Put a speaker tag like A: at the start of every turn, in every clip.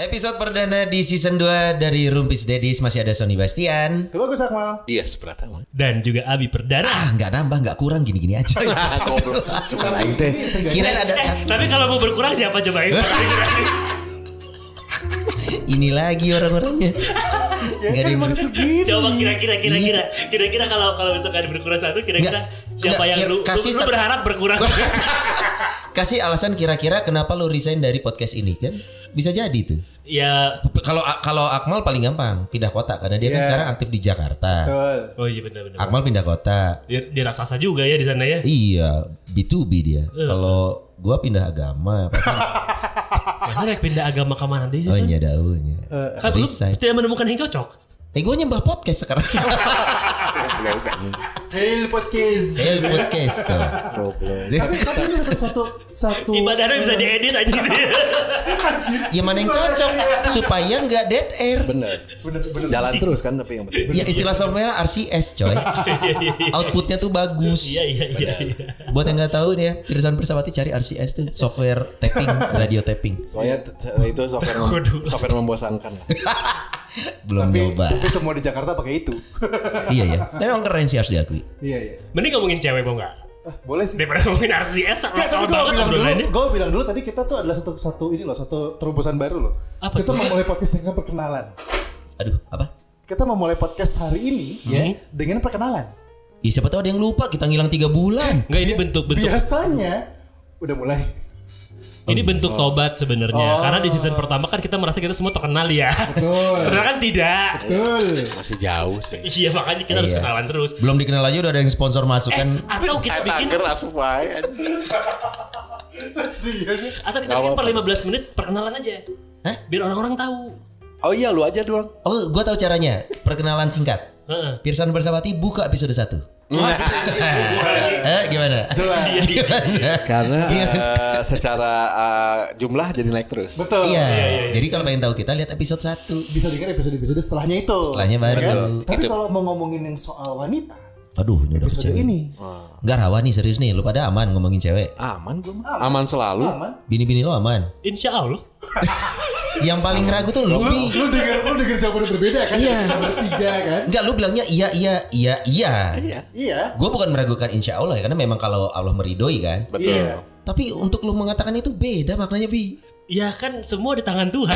A: Episode perdana di season 2 dari Rumpis Dedis masih ada Sony Bastian.
B: Coba gue Akmal.
C: Yes, Pratama.
D: dan juga Abi Perdana.
A: Ah, nggak nambah, nggak kurang gini-gini aja.
C: Goblok. Suka lain teh.
A: Kirain ada
D: Eh,
A: satu.
D: tapi kalau mau berkurang siapa coba ini?
A: Ini lagi orang-orangnya. Nggak ada yang
B: emang segini.
D: coba kira-kira kira-kira kira-kira kalau kalau misalkan berkurang satu
A: Iya.
D: kira-kira
A: Nggak,
D: siapa
A: nggak,
D: yang
A: kira-
D: lu,
A: kasih
D: lu, lu
A: satu-
D: berharap berkurang?
A: Kasih alasan kira-kira kenapa lu resign dari podcast ini kan? Bisa jadi tuh.
D: ya
A: Kalau kalau Akmal paling gampang pindah kota karena dia kan
B: Iya.
A: sekarang aktif di Jakarta.
B: Betul.
D: oh iya benar-benar.
A: Akmal pindah kota.
D: Dia, dia raksasa juga ya di sana ya.
A: Iya, B2B dia.
D: Iya.
A: Kalau gua pindah agama,
D: Mana yang pindah agama ke mana dia
A: oh
D: sih?
A: iya daunya.
D: Kan lu
A: Resign.
D: tidak menemukan yang cocok.
A: Eh gua nyembah podcast sekarang.
B: Hail podcast.
A: Eh podcast tuh. Eh.
B: Tapi tapi ini satu satu satu.
D: Ibadahnya bisa diedit aja sih.
A: Ya mana yang cocok supaya nggak dead air.
C: Bener. Jalan terus kan tapi yang penting.
A: Ya istilah software RCS coy. Outputnya tuh bagus.
D: Iya iya iya. iya.
A: Buat yang nggak tahu nih ya, Pirsan Persawati cari RCS tuh software tapping, radio tapping.
C: Pokoknya t- t- itu software mem-
D: Waduh.
C: software membosankan lah.
A: Belum
B: Tapi,
A: nyoba.
B: tapi semua di Jakarta pakai itu.
A: iya ya. Tapi emang keren sih harus diakui.
B: Iya iya.
D: Mending ngomongin cewek mau nggak?
B: Ah, boleh sih.
D: Daripada ngomongin
A: Iya,
D: RCS sama
B: Ya, tapi gue
D: banget
B: bilang dulu,
D: obrolannya.
B: gue bilang dulu tadi kita tuh adalah satu satu ini loh, satu terobosan baru loh.
D: Apa
B: kita
D: tuh?
B: memulai podcast dengan perkenalan.
A: Aduh, apa?
B: Kita memulai podcast hari ini ya dengan perkenalan.
A: Ya siapa tahu ada yang lupa kita ngilang tiga bulan.
D: Enggak ini bentuk-bentuk
B: Biasanya udah mulai. Oh,
D: Ini bentuk tobat sebenarnya. Karena di season pertama kan kita merasa kita semua terkenal ya.
B: Betul.
D: Ternyata kan tidak.
B: Betul.
C: Masih jauh sih.
D: Iya makanya kita harus
A: Iya.
D: kenalan terus. Eh,
A: Belum dikenal aja udah ada yang sponsor masuk kan.
D: Atau kita bikin
C: Tiger asup aja.
B: Kasihan.
D: atau kita bikin per 15 menit perkenalan aja.
A: Hah?
D: Biar orang-orang tahu.
C: Oh iya lu aja doang.
A: Oh, gua tahu caranya. Perkenalan singkat.
D: Heeh.
A: Pirsan Bersawati buka episode 1. eh, gimana?
D: Iya, iya.
C: Karena
A: Iya.
C: eh, secara eh, jumlah jadi naik terus.
B: Betul.
A: Iya. Jadi kalau pengen tahu kita lihat episode 1.
B: Bisa dengar episode-episode setelahnya itu.
A: Setelahnya baru.
B: Ya kan? Tapi kalau mau ngomongin yang soal wanita,
A: Aduh, ini udah
B: episode
A: kecewa.
B: ini
A: Enggak rawan nih serius nih, lu pada aman ngomongin cewek.
C: Aman gua mah. Aman selalu.
B: aman.
A: Bini-bini lo aman.
D: Insya Allah.
A: Yang paling ragu tuh lu. Bi.
B: Lu denger lu denger jawaban berbeda kan?
A: Iya.
B: Kita Bertiga kan?
A: Enggak, lu bilangnya iya iya iya iya.
B: Iya.
A: Gue bukan meragukan insya Allah ya, karena memang kalau Allah meridoi kan.
C: Betul.
B: Iya.
A: Tapi untuk lu mengatakan itu beda maknanya bi.
D: Ya kan semua di tangan Tuhan.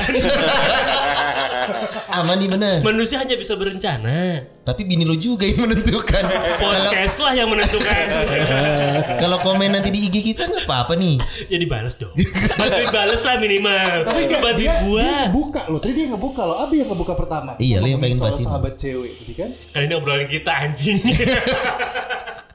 A: Aman di mana?
D: Manusia hanya bisa berencana.
A: Tapi bini lu juga yang menentukan. Kalau
D: Podcast lah yang menentukan.
A: kalau komen nanti di IG kita nggak apa-apa nih.
D: ya dibales dong. Bantuin bales lah minimal.
B: Tapi enggak, dia,
D: Bantuin
B: dia
D: gua.
B: buka loh. Tadi dia ngebuka loh. Abi yang ngebuka pertama.
A: Iya, lu yang
B: Ngomongin
A: pengen
B: soal
A: bahas ini.
B: sahabat cewek tadi kan?
D: Kali ini obrolan kita anjing.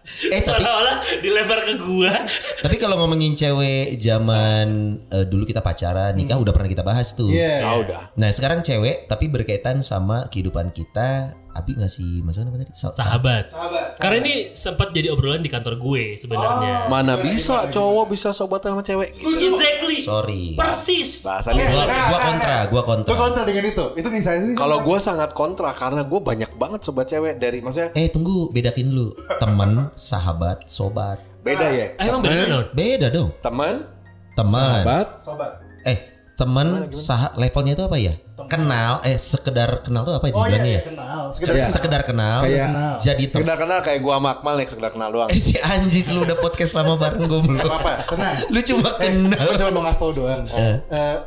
A: Eh tapi
D: Seolah-olah dilempar ke gua.
A: tapi kalau ngomongin cewek zaman eh, dulu kita pacaran nikah udah pernah kita bahas tuh.
B: Iya.
D: Ya
C: Nah, udah.
A: Nah sekarang cewek tapi berkaitan sama kehidupan kita. Abi ngasih masukan apa tadi? Sa- sa-
D: Sahabat.
B: Sahabat. Oh.
D: Karena ini sempat jadi obrolan di kantor gue sebenarnya.
C: Mana bisa cowok bisa sobatan sama cewek?
D: Exactly.
A: Oh. Sorry.
D: Persis.
C: Bahasannya
A: Gua, gua kontra, gua kontra.
B: Lu kontra dengan itu. Itu nih saya sih.
C: Kalau gue sangat kontra karena gue banyak banget sobat cewek dari maksudnya
A: Eh tunggu, bedakin dulu. Teman, sahabat, sobat.
C: beda ya.
D: Ah, emang bener non?
A: Beda dong.
C: Teman,
A: Teman.
C: sahabat,
B: sobat.
A: Eh, teman sah levelnya itu apa ya? Kenal eh sekedar kenal tuh apa ya
B: Oh iya,
A: dibilangnya
B: iya,
A: ya?
B: kenal. Sekedar
C: Iya.
A: Sekedar kenal.
C: Kayak-
A: jadi teman.
C: sekedar kenal kayak gue sama Akmal nih sekedar kenal doang.
A: Iya, Eh si anjis lu udah podcast lama bareng gue belum.
B: apa? Tenang.
A: Lu cuma kenal.
B: Gue cuma mau ngasih tau doang. Eh,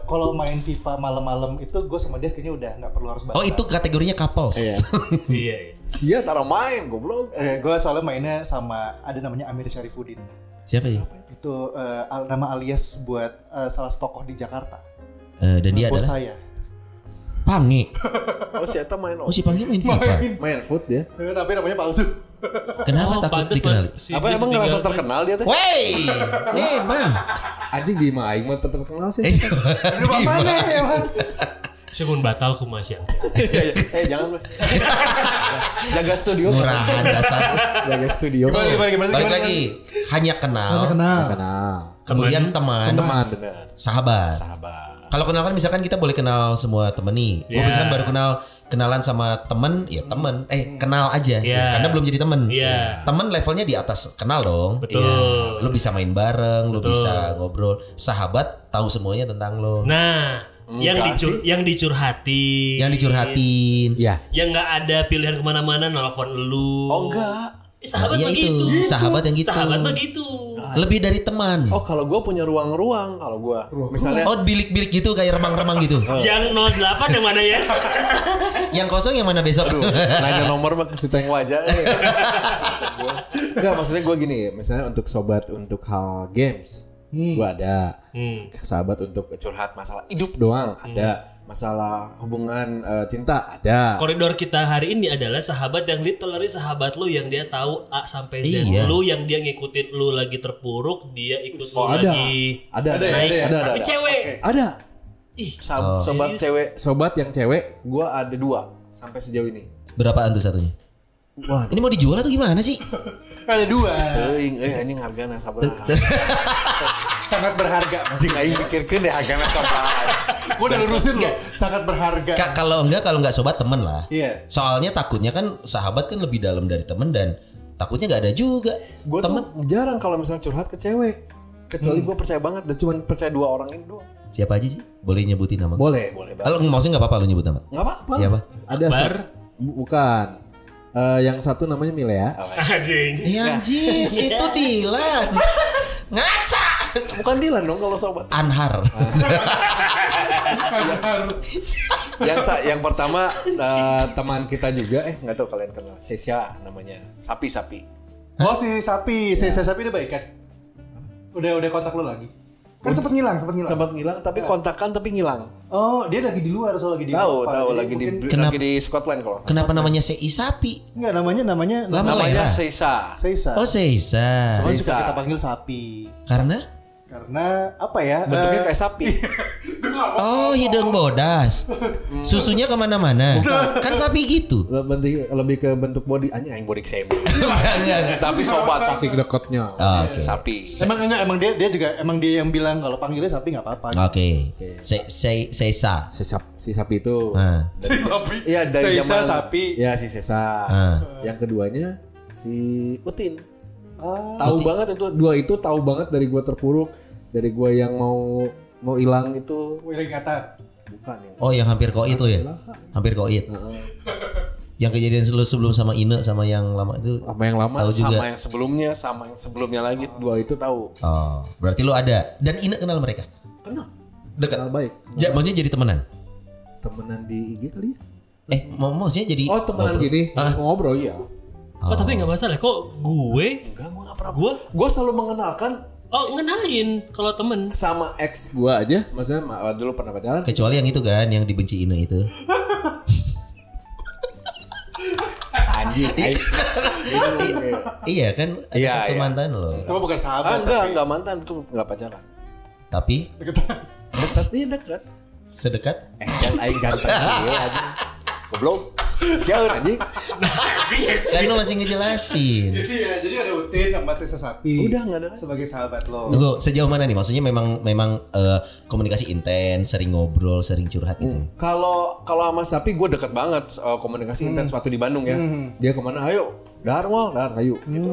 B: kalau main FIFA malam-malam itu gue sama dia kayaknya udah nggak perlu harus bahas.
A: Oh itu kategorinya couples.
D: Iya. iya.
C: Sia taruh main goblok.
B: Eh, gue soalnya mainnya sama ada namanya Amir Syarifuddin.
A: Siapa ya?
B: Itu eh, al- nama alias buat eh, salah satu tokoh di Jakarta.
A: Eh, dan dia
B: Bos
A: adalah
B: saya.
A: Pange.
C: Oh si Eta main
A: Oh
C: oh.
A: si Pange main FIFA.
C: main foot dia.
B: Eh, Tapi namanya palsu.
A: Kenapa
D: Oh,
A: takut
D: pantes,
A: dikenali?
D: Pan. Si
C: Apa
D: dia
C: emang
D: setinggal-
C: ngerasa terkenal dia teh?
A: Wey, Eh, memang.
C: Anjing di mah aing mah tetep terkenal sih. eh,
A: Eh,
B: Aduh, apa nih emang?
D: Saya pun batal ku Mas ya. yang.
C: Iya, iya. Eh jangan mas. Jaga studio.
A: murahan dasar.
C: Jaga studio.
B: Gimana, gimana, gimana,
A: Balik
B: gimana,
A: lagi, hanya kenal,
B: Kenal.
C: Kenal.
A: kemudian teman,
C: Teman bener.
A: sahabat.
C: Sahabat.
A: Kalau kenal kan misalkan kita boleh kenal semua temen nih. Gue
D: Iya.
A: misalkan baru kenal kenalan sama temen, ya temen. Eh kenal aja,
D: Iya.
A: karena belum jadi temen.
D: Iya.
A: Temen levelnya di atas kenal dong. Iya. Lu
D: Betul.
A: bisa main bareng, lu bisa ngobrol. Sahabat tahu semuanya tentang lo.
D: Nah, yang
C: Enggak
D: dicur
C: sih.
D: yang dicurhati
A: Yang dicurhatin.
C: Iya.
E: Ya.
D: yang nggak ada pilihan kemana-mana nelfon lu
C: Oh enggak.
D: Eh, sahabat
A: Iya
D: mah
A: itu,
D: gitu
A: sahabat yang gitu.
D: sahabat mah gitu
A: Lebih dari teman.
C: Oh kalau gue punya ruang-ruang kalau gue misalnya Oh.
A: Oh bilik-bilik gitu kayak remang-remang gitu.
D: yang 08 yang mana ya
A: Yang kosong yang mana besok?
C: Aduh, nanya nomor mah kasih tayang wajah. Eh. Enggak, maksudnya gue gini, misalnya untuk sobat untuk hal games, gue ada.
D: Hmm.
C: Ya, Sahabat untuk curhat masalah hidup doang ada. Masalah hubungan eh, cinta ada.
D: koridor kita hari ini adalah sahabat yang literally sahabat lu yang dia tahu A sampai Z
A: Iya.
D: lu yang dia ngikutin lu lagi terpuruk dia ikut lu
C: Oh, ada.
D: lagi
C: Ada, ada,
D: naik.
C: ada, ada,
D: tapi
C: ada.
D: cewek
C: Ada.
D: ih
C: Sa- Sobat cewek, sobat yang cewek, gue ada dua sampai sejauh ini.
A: Berapaan tuh satunya?
C: Wah,
A: Ini mau dijual atau gimana sih?
B: Ada dua.
C: teuing, eh ini hargana sabar.
B: Sangat berharga.
C: Jing aing mikirkeun deh hargana sabar.
B: Gue udah lurusin loh. Sangat berharga.
A: Ka- kalau enggak kalau enggak sobat temen lah.
B: Iya.
A: Soalnya takutnya kan sahabat kan lebih dalam dari temen dan takutnya nggak ada juga.
C: Gue
A: temen
C: tuh jarang kalau misalnya curhat ke cewek. Kecuali gue percaya banget dan cuman percaya dua orang ini doang.
A: siapa aja sih? Boleh nyebutin nama?
C: Boleh, boleh banget.
A: Kalau maksudnya nggak apa-apa lu nyebut nama.
C: Nggak apa-apa.
A: Siapa?
C: Ada
D: Akbar.
C: sat- Bu- bukan. Eh, yang satu namanya ya. Milea.
D: anjing
A: Iya anjir, situ Dilan. Ngaca.
C: Bukan Dilan dong kalau sobat.
A: Anhar.
C: yang sa- yang pertama eh, teman kita juga eh nggak tahu kalian kenal. Sesha namanya. Sapi-sapi.
B: Oh si sapi, si, si sapi udah baik kan? Udah udah kontak lo lagi. Kan sempet ngilang, sempet ngilang.
C: Sempat ngilang tapi kontakan tapi ngilang.
B: Oh dia lagi di luar soal lagi di.
C: Iya. Tahu,
B: Eropa.
C: tahu
B: Jadi
C: lagi di
B: mungkin-
A: Kenapa-
C: lagi di Scotland kalau nggak salah.
A: Kenapa namanya Sei Sapi?
B: Enggak namanya namanya
A: Lama
C: Namanya
A: Lera?
C: Sesha.
B: Seisa.
A: Oh Seisa.
B: Cuman suka
C: Seisa.
B: kita panggil sapi.
A: Karena
B: Karena apa ya?
C: Bentuknya
B: eh,
C: kayak sapi.
A: Oh hidung bodas. Susunya kemana-mana. Kan sapi gitu.
C: lebih, lebih ke bentuk body anjing aing body semi.
A: Enggak.
C: tapi sobat saking deketnya
A: Ah, oke.
C: sapi
B: Emang enggak, emang dia dia juga emang dia yang bilang kalau panggilnya sapi nggak apa-apa.
A: Nah. Oke. Se se Seisa.
C: si, sap- si sapi itu
A: Ah.
B: Si sapi.
C: ya dari
B: Seisa
C: zaman
B: sapi.
C: ya si sesa
A: Ah.
C: yang keduanya si utin
B: Ah.
C: tahu banget itu dua itu tahu banget dari gua terpuruk dari gua yang mau mau hilang itu
B: Wih, ingatan.
C: bukan ya
A: Oh yang hampir koit tuh ya. Hampir koit. Yang kejadian sebelum sebelum sama Ine sama yang lama itu.
C: sama yang lama
A: Tahu
C: sama
A: juga.
C: yang sebelumnya sama yang sebelumnya lagi dua itu tahu
A: Oh, berarti lu ada. Dan Ine kenal mereka.
C: kenal
A: Dekat.
C: kenal baik
A: Ja-
C: Kenal.
A: maksudnya jadi temenan.
C: temenan di IG kali ya
A: Eh, mau maksudnya jadi
C: oh temenan
A: Ngobrol.
C: gini
A: Ah.
C: ngobrol ya
D: oh tapi nggak masalah kok gue
C: enggak gua nggak pernah
D: gue
C: gua selalu mengenalkan
D: oh ngenalin kalau temen
C: sama ex gua aja maksudnya ma- dulu pernah pacaran
A: Kecuali yang itu kan yang dibenci Ine itu.
C: anjing Iya. aing. Ini-
A: iya kan ada
C: Iya,
A: satu
C: iya.
A: mantan lo.
B: Kamu bukan
C: ah,
B: sahabat.
C: enggak enggak mantan itu enggak pacaran
A: Tapi
C: dekat nih dekat
A: sedekat
C: eh yang aing ganteng gila anjing goblok siaun anjing
A: kan lu masih ngejelasin.
B: Iya, jadi ada Utin sama Sesa sapi.
C: Udah, nggak ada.
B: Sebagai sahabat lo.
A: Tunggu, sejauh mana nih? Maksudnya memang memang eh, komunikasi intens, sering ngobrol, sering curhat
C: Hmm.
A: gitu.
C: kalau kalau sama sapi gua dekat banget eh, komunikasi intens waktu di Bandung ya dia kemana ayo dar wal dar ayo gitu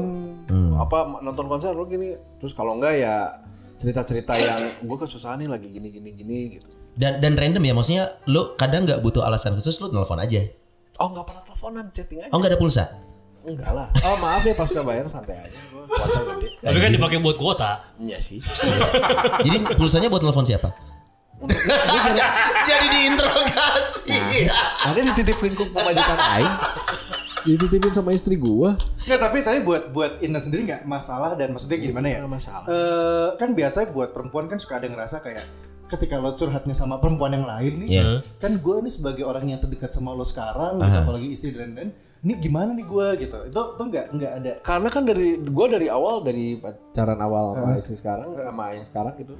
C: apa nonton konser lu gini terus kalau enggak ya cerita-cerita yang gua kesusahan nih lagi gini gini gini gitu
A: Dan dan random ya, maksudnya lu kadang nggak butuh alasan khusus, lu nelfon aja.
C: oh nggak pernah teleponan chatting aja
A: Oh nggak ada pulsa?
C: Enggak lah. Oh maaf ya pasca bayar santai aja. Gua Kuasa gede.
D: tapi kan dipakai buat kuota
C: Iya sih.
A: Jadi pulsanya buat nelfon siapa? Jadi diinterogasi.
C: Ada dititip lingkup pemajikan aing. Dititipin sama istri gua.
B: Nggak, tapi tapi buat buat Ina sendiri nggak masalah dan maksudnya gimana ya?
C: Nggak masalah.
B: Eh, kan biasanya buat perempuan kan suka ada ngerasa kayak ketika lo curhatnya sama perempuan yang lain nih,
A: Iya.
B: kan gue nih sebagai orang yang terdekat sama lo sekarang, gitu, apalagi istri dan dan, ini gimana nih gue gitu? Itu tuh nggak nggak ada.
C: Karena kan dari gua dari awal dari pacaran awal sama istri sekarang sama yang sekarang gitu.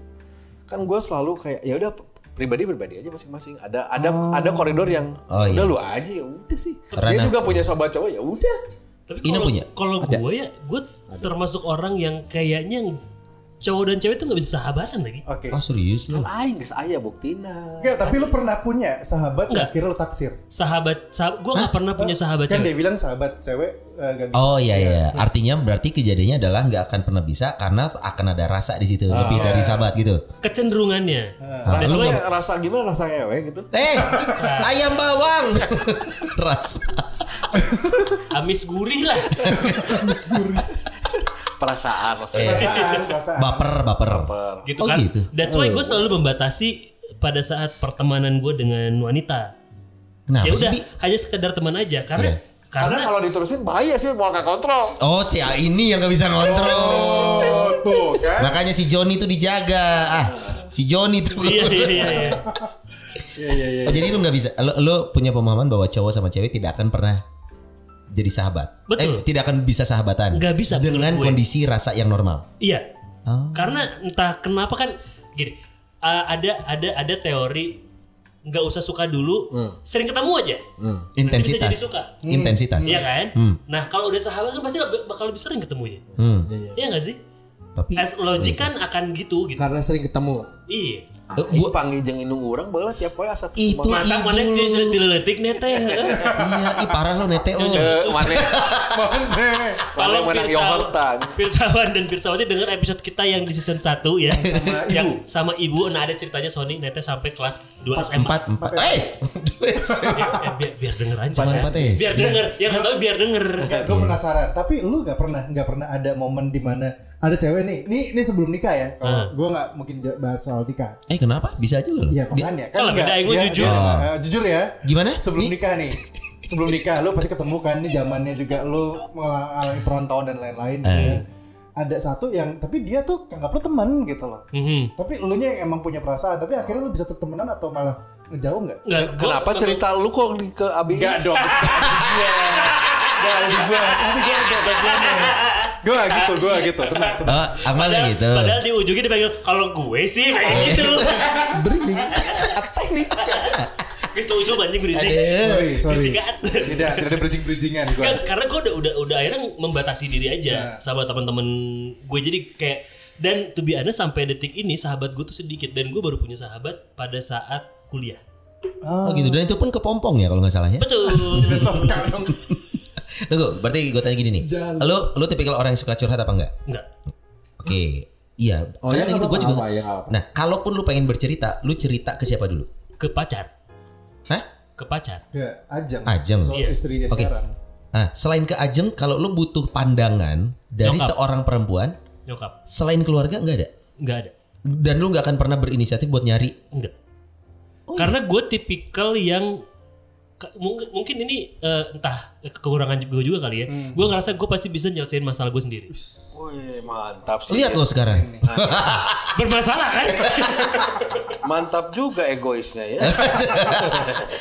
C: Kan gua selalu kayak ya udah pribadi pribadi aja masing-masing. Ada ada ada koridor yang
A: Oh, iya.
C: udah lu aja ya udah sih. Dia
A: Ranah.
C: juga punya sobat cowok ya udah.
D: tapi
A: Ina
D: kalau
A: punya?
D: kalau gue ya gue termasuk orang yang kayaknya cowok dan cewek tuh nggak bisa sahabatan lagi.
B: Oke.
A: Ah serius lu?
C: Kan aing geus aya buktina.
B: Enggak, tapi lu pernah punya sahabat yang
D: Enggak.
B: akhirnya lu taksir.
D: Sahabat, sah gue nggak pernah punya sahabat
B: Kan
D: cewek.
B: dia bilang sahabat cewek eh, nggak bisa.
A: Oh iya iya. Artinya berarti kejadiannya adalah nggak akan pernah bisa karena akan ada rasa di situ lebih dari sahabat gitu.
D: Kecenderungannya.
A: Ah, lu
C: Rasanya
A: nggak-
C: rasa gimana rasa ewe gitu?
A: Eh, ayam bawang. rasa.
D: Amis gurih lah.
C: Perasaan rasa
A: Eh.
B: Perasaan, perasaan.
A: Baper, baper.
D: gitu
A: Oh,
D: kan.
A: gitu.
D: That's why gue selalu membatasi pada saat pertemanan gue dengan wanita.
A: Kenapa
D: Ya
A: sih?
D: udah,
A: Bi?
D: hanya sekedar teman aja
A: Iya.
D: karena
C: Karena
D: karena
C: kalau diterusin bahaya sih mau angkat kontrol.
A: Oh, si A ini yang nggak bisa ngontrol.
B: Oh, tuh kan.
A: Makanya si Joni itu dijaga. Ah, si Joni itu.
D: iya iya iya. iya.
B: Iya iya iya.
A: Oh, jadi lu nggak bisa. Lu, lu punya pemahaman bahwa cowok sama cewek tidak akan pernah jadi sahabat.
D: Betul.
A: Eh, tidak akan bisa sahabatan.
D: Nggak bisa, menurut
A: Dengan
D: gue.
A: kondisi rasa yang normal.
D: Iya.
A: Oh.
D: Karena entah kenapa kan gini, uh, ada ada ada teori nggak usah suka dulu,
C: Hmm.
D: sering ketemu aja. Nanti bisa
A: Intensitas.
D: jadi suka.
A: Intensitas.
D: Iya kan?
A: Hmm.
D: Nah, kalau udah sahabat kan pasti bakal lebih sering ketemunya.
A: Hmm.
D: Iya nggak sih?
A: Tapi
D: As logic kan akan gitu gitu.
C: Karena sering ketemu.
D: Iya.
A: Eh,
C: Gua panggil jeung indung urang baheula tiap poe asa
A: Itu.
C: kumaha.
D: Mata
A: Ibu.
D: mana di- dileletik nih teh.
A: iya, ih parah lu nete lu.
D: Iya,
C: Eh, Mane Mane
D: Kalau Pirsawan-
C: menang yogurtan.
D: Pirsawan dan Pirsawati dengar episode kita yang di season 1 ya. Sama
B: ibu.
D: yang sama ibu. Nah, ada ceritanya Sony nete sampai kelas 2 SMA.
A: Empat, empat. Eh,
D: Eh, biar, biar denger aja.
A: Empat,
D: Mas.
A: empat, eh.
D: Biar denger. Yang enggak tahu biar denger.
B: Enggak,
D: Iya.
B: gue penasaran. Tapi lu nggak pernah nggak pernah ada momen di mana ada cewek nih. Ini ini sebelum nikah ya.
D: Ah.
B: Kalau gue nggak mungkin ja- bahas soal nikah.
A: eh kenapa? Bisa juga lu.
B: Iya
A: Di-
B: makanya kan
D: Kalau
B: nggak-
D: beda, ya, gua
B: dia-
D: jujur.
B: dia-
A: Oh.
B: eh, jujur ya.
A: Gimana?
B: Sebelum
A: Nih?
B: nikah nih. Sebelum nikah lu pasti ketemu kan ini zamannya juga lu mengalami perantauan dan
D: Eh.
B: lain-lain gitu kan. Ada satu yang tapi dia tuh anggap lu teman gitu loh.
D: Mhm.
B: Tapi lu nya yang emang punya perasaan, tapi akhirnya lu bisa tetep temenan atau malah ngejauh nggak?
D: Nggak, gua-
C: Kenapa cerita lu kok di ke ABI?
B: Enggak dong. Enggak ada di gua. Nanti gua ada bagiannya. Gua gitu, gua gitu. Tenang, tenang.
A: Oh, Akmal
D: Padahal,
A: yang gitu.
D: padahal di ujungnya dipanggil kalau gue sih kayak gitu.
C: Bridging. Teknik.
D: Guys, tuh ujung anjing berisik.
A: Aduh.
B: Sorry, sorry.
D: Disikat.
B: Tidak, tidak ada bridging-bridgingan gua.
D: Kan, karena gue udah, udah udah akhirnya membatasi diri aja sama teman-teman gue jadi kayak dan to be honest sampai detik ini sahabat gue tuh sedikit dan gue baru punya sahabat pada saat kuliah.
A: Oh gitu. Dan itu pun kepompong ya kalau nggak salah ya.
D: Betul.
B: Tosca dong.
A: Tunggu, berarti gue tanya gini nih.
B: Sejalan.
A: Lu lu tipikal orang yang suka curhat apa enggak?
D: Enggak.
A: Oke. Iya.
C: Oh ya
A: Karena
C: enggak
A: gitu, gua juga-
C: apa-apa, ya enggak apa-apa.
A: Nah, kalaupun lu pengen bercerita, lu cerita ke siapa dulu?
D: Ke pacar.
A: Hah?
D: Ke pacar.
B: Ke Ajeng.
A: Ajeng.
B: So,
D: Iya.
B: istri dia
A: Oke.
B: sekarang.
A: Nah, selain ke Ajeng, kalau lu butuh pandangan dari
D: Nyokap.
A: seorang perempuan,
D: Nyokap.
A: selain keluarga nggak ada.
D: Enggak ada.
A: Dan lu nggak akan pernah berinisiatif buat nyari
D: Enggak. Karena gue tipikal yang ke- mung- mungkin ini eh, entah kekurangan gue juga kali ya.
C: Hmm.
D: Gue ngerasa gue pasti bisa nyelesain masalah gue sendiri.
C: Wih, mantap sih.
A: Lihat lo sekarang.
D: Bermasalah kan?
C: Mantap juga egoisnya ya.
A: Eh,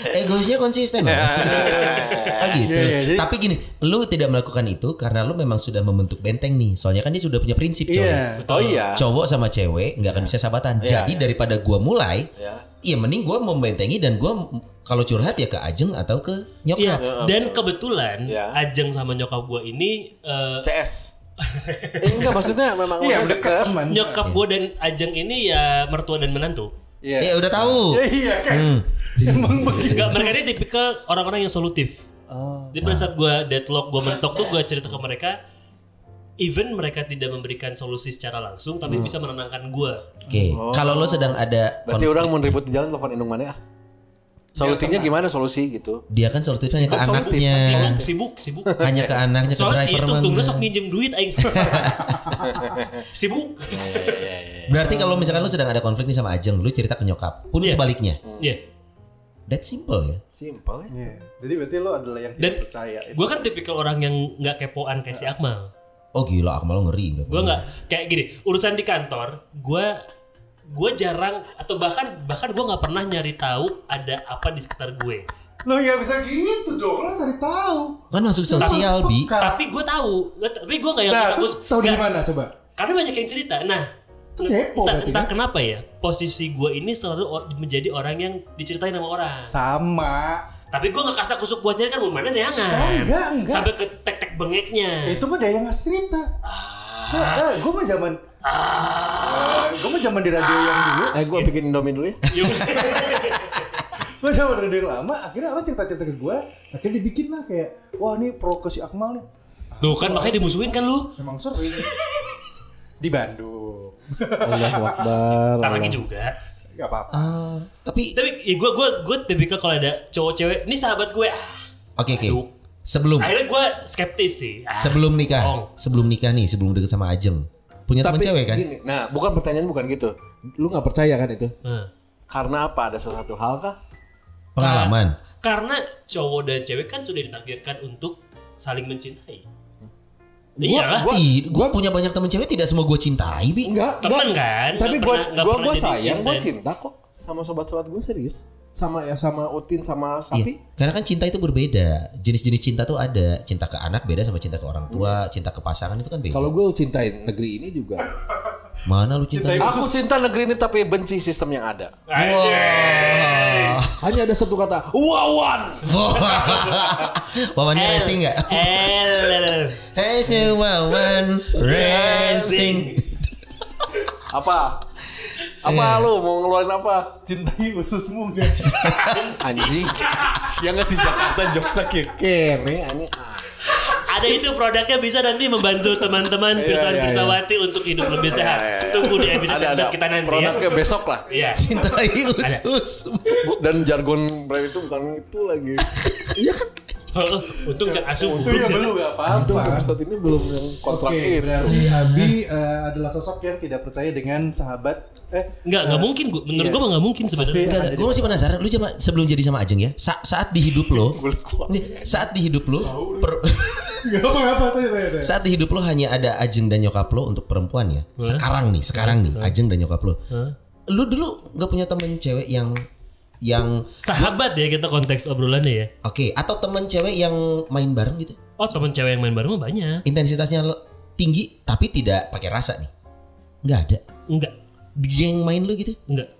A: Egoisnya konsisten. loh. oh gitu.
B: Iya, iya, jadi-
A: Tapi gini, lu tidak melakukan itu karena lu memang sudah membentuk benteng nih. Soalnya kan dia sudah punya prinsip, coy.
B: Iya.
C: Oh iya.
A: Cowok sama cewek nggak akan bisa sahabatan.
C: Iya,
A: Jadi daripada gua mulai,
C: Ya.
A: ya mending gua membentengi dan gua m- kalau curhat ya ke Ajeng atau ke nyokap.
D: Iya. Dan kebetulan
C: Ya.
D: Ajeng sama nyokap gue ini eh,
C: CS. Eh, enggak maksudnya memang
B: Iya,
C: udah
B: udah
C: deket.
B: teman.
D: nyokap gue dan Ajeng ini ya mertua dan menantu.
B: Iya.
A: Ya udah tahu.
B: Iya kan. Emang begitu.
D: Enggak, mereka ini tipikal orang-orang yang solutif.
B: Oh.
D: Jadi pada
A: Nah.
D: saat gue deadlock, gue mentok tuh gue cerita ke mereka. Even mereka tidak memberikan solusi secara langsung,
A: Hmm.
D: tapi bisa menenangkan gue.
A: Oke. Kalau lu sedang ada
C: Oh. Berarti
A: konflik,
C: orang mau ribut di jalan telepon indung mana ya?
B: Iya,
C: Solusinya gimana solusi gitu?
A: dia kan solutif hanya ke anaknya.
D: Sibuk, sibuk, sibuk.
A: Iya. Hanya ke anaknya ke
D: Soalnya si
A: driver
D: itu
A: mah
D: tunggu
A: enggak.
D: sok minjem duit aing. sibuk.
A: Berarti kalau misalkan lu sedang ada konflik nih sama Ajeng, lu cerita ke nyokap. Pun
D: Iya.
A: sebaliknya.
D: Iya.
A: That simple ya.
C: Simpel ya.
B: Iya. Jadi berarti lo adalah yang
D: Dan-
B: tidak percaya.
D: Gue kan tipikal orang yang nggak kepoan kayak si Akmal.
A: Oh gila, Akmal lu ngeri.
D: Gue nggak kayak gini. Urusan di kantor, gue gue jarang atau bahkan bahkan gue nggak pernah nyari tahu ada apa di sekitar gue.
B: Lo nggak bisa gitu dong. Lo harus cari tahu.
A: Kan masuk sosial, Bi.
B: Tapi
D: Tapi gue tahu, Nggak- tapi gue nggak yang
B: Nah,
D: aku-
B: terus tahu dari
D: Iya, nggak-
B: mana coba?
D: Karena banyak yang cerita. Nah,
B: Itu kepo
D: entah,
B: berarti,
D: entah
B: kan?
D: kenapa ya, posisi gue ini selalu o- menjadi orang yang diceritain sama orang.
B: Sama.
D: Tapi gue nggak kasak kusuk buat nyari kan mana neangan.
B: Oh, enggak, enggak.
D: Sampai ke tek-tek bengeknya.
B: Itu mah dia yang ngasih cerita. Ah. gue mah zaman lu zaman di radio yang dulu,
C: Eh gue bikin Indomie dulu ya.
B: lu zaman di radio yang lama, akhirnya orang cerita-cerita ke gue, akhirnya dibikin lah kayak, wah ini pro ke si Akmal nih,
D: Tuh kan makanya dimusuhin kan lu.
B: memang sering di Bandung,
E: Allahu Akbar.
D: Tak lagi
E: Allah.
D: juga.
B: gak apa-apa.
A: Ah, tapi
D: Tapi ya gue gue gue tipikal kalau ada cowok cewek, ini sahabat gue. Ah,
A: oke oke.
D: Aduh.
A: Sebelum
D: Akhirnya gue skeptis sih. Ah,
A: sebelum
D: bohong.
A: nikah, sebelum nikah nih, sebelum deket sama Ajeng. Punya teman
C: Tapi
A: cewek kan?
C: gini, nah bukan pertanyaan bukan gitu. Lu nggak percaya kan itu?
D: Hmm.
C: Karena apa? Ada sesuatu hal kah?
A: Pengalaman.
D: Karena cowok dan cewek kan sudah ditakdirkan untuk saling mencintai. Iya
C: Gua-
D: Iyalah.
C: gua-
A: Ih, gue
C: gua-
A: punya banyak teman cewek tidak semua gue cintai, Bi.
C: Enggak,
D: Temen
C: enggak.
D: kan?
C: Tapi
D: Nggak
C: gua
D: pernah- nggak
C: gua
D: pernah
C: gua
D: jadi
C: sayang, gua
D: intens.
C: cinta kok sama sobat-sobat gue serius. Sama ya sama Utin sama
A: Iya,
C: Sapi.
A: Karena kan cinta itu berbeda. Jenis-jenis cinta tuh ada. Cinta ke anak beda sama cinta ke orang tua, cinta ke pasangan itu kan beda.
C: Kalau gue cintain negeri ini juga.
A: mana lu cinta?
B: Cintai-
C: Aku cinta negeri ini tapi benci sistem yang ada.
D: Anjay.
C: Hanya ada satu kata, wawan.
A: Wawannya racing nggak?
D: El.
A: Hey, si Wawan racing.
C: Apa? Apa lu mau ngeluarin apa?
B: Cintai ususmu enggak?
C: Anjing. yang ngasih Jakarta joksa keke nih anjing. Ah.
D: Ada itu produknya bisa nanti membantu teman-teman pirsawan
C: iya, iya.
D: pirsawati untuk hidup lebih sehat.
C: Ya, ya, ya.
D: Tunggu di episode
C: Ada, ada.
D: kita nanti ya.
C: Produknya besok lah.
D: Iya.
A: Cintai usus.
C: Bu- Dan jargon brand itu bukan itu lagi. Iya kan?
D: Heeh, Oh, Untung cak asuh.
B: Itu ya belum gak
C: Untung
B: apa-apa.
C: episode ini belum yang kontrak
B: Oke,
C: ini.
B: berarti Abi eh, adalah sosok yang tidak percaya dengan sahabat. Eh,
D: Enggak, enggak mungkin gua. Menurut
B: iya.
D: gua mah enggak mungkin sebenarnya.
A: Enggak, gue masih penasaran. Lu coba sebelum jadi sama Ajeng ya. sa- saat di hidup lo,
C: Boleh kuat.
A: nih, saat di hidup lo, per-
B: Gak apa-apa tanya tanya tanya.
A: saat di hidup lo hanya ada Ajeng dan nyokap lo untuk perempuan ya. Sekarang nih, sekarang nih, Ajeng dan nyokap lo. Lu dulu nggak punya temen cewek yang yang
D: Sahabat ya kita konteks obrolannya ya.
A: Oke, atau temen cewek yang main bareng gitu.
D: Oh teman cewek yang main bareng mah banyak.
A: Intensitasnya le- tinggi tapi tidak pakai rasa nih. Nggak ada.
D: Enggak,
A: Geng main lu gitu.
D: enggak.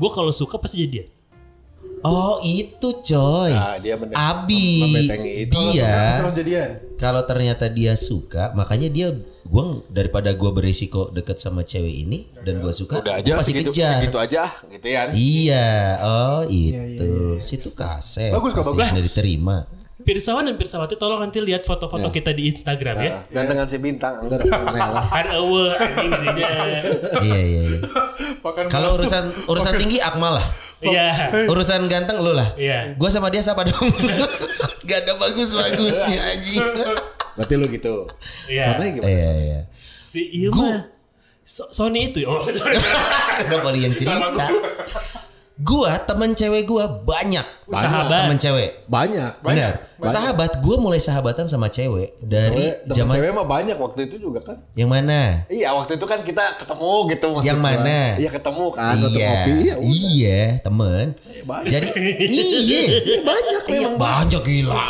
D: Gua kalau suka pasti jadian.
A: Oh, itu coy.
C: Nah, dia mending
A: Abi
C: membentengi itu.
B: Kenapa
A: dia
B: Sama jadian.
A: kalau ternyata dia suka, makanya dia gua daripada gua berisiko deket sama cewek ini dan gua suka, gua
C: Udah aja
A: pasti
C: segitu,
A: kejar.
C: segitu aja ah, gitu ya.
A: Iya, oh itu. Situ kaset.
B: Bagus kok,
A: Pasti
B: bagus.
A: sudah diterima.
D: Pirsawan dan Pirsawati tolong nanti lihat foto-foto kita di Instagram ya.
C: Nah, Gantengan si bintang enggak rela.
A: Ah.
D: Kan ewe anjing jadinya.
A: iya, iya, iya.
B: Makan
A: Kalau urusan urusan tinggi Akmal lah.
D: Iya.
A: Urusan ganteng lu lah.
D: Iya.
A: Gua sama dia siapa dong? Gak ada bagus-bagusnya anjing.
C: Berarti lu gitu.
D: Iya.
C: Soalnya gimana?
A: Iya, iya.
D: Si iya mah. So- Sony itu ya. Oh, sorry.
A: Kenapa lu yang cerita? Gua temen cewek gua banyak.
D: Sahabat.
A: Temen cewek.
C: Banyak.
A: Benar. Sahabat gua mulai sahabatan sama cewek dari
C: Cewek, teman
A: zaman
C: cewek mah banyak waktu itu juga kan.
A: yang mana?
C: Iya, waktu itu kan kita ketemu gitu maksud
A: Yang
C: gua.
A: mana?
C: Iya, ketemu kan waktu
A: iya,
C: ngopi. Iya, udah.
A: iya, temen.
C: banyak.
A: Jadi iya,
C: banyak
A: Iya,
C: memang banyak.
A: banyak gila.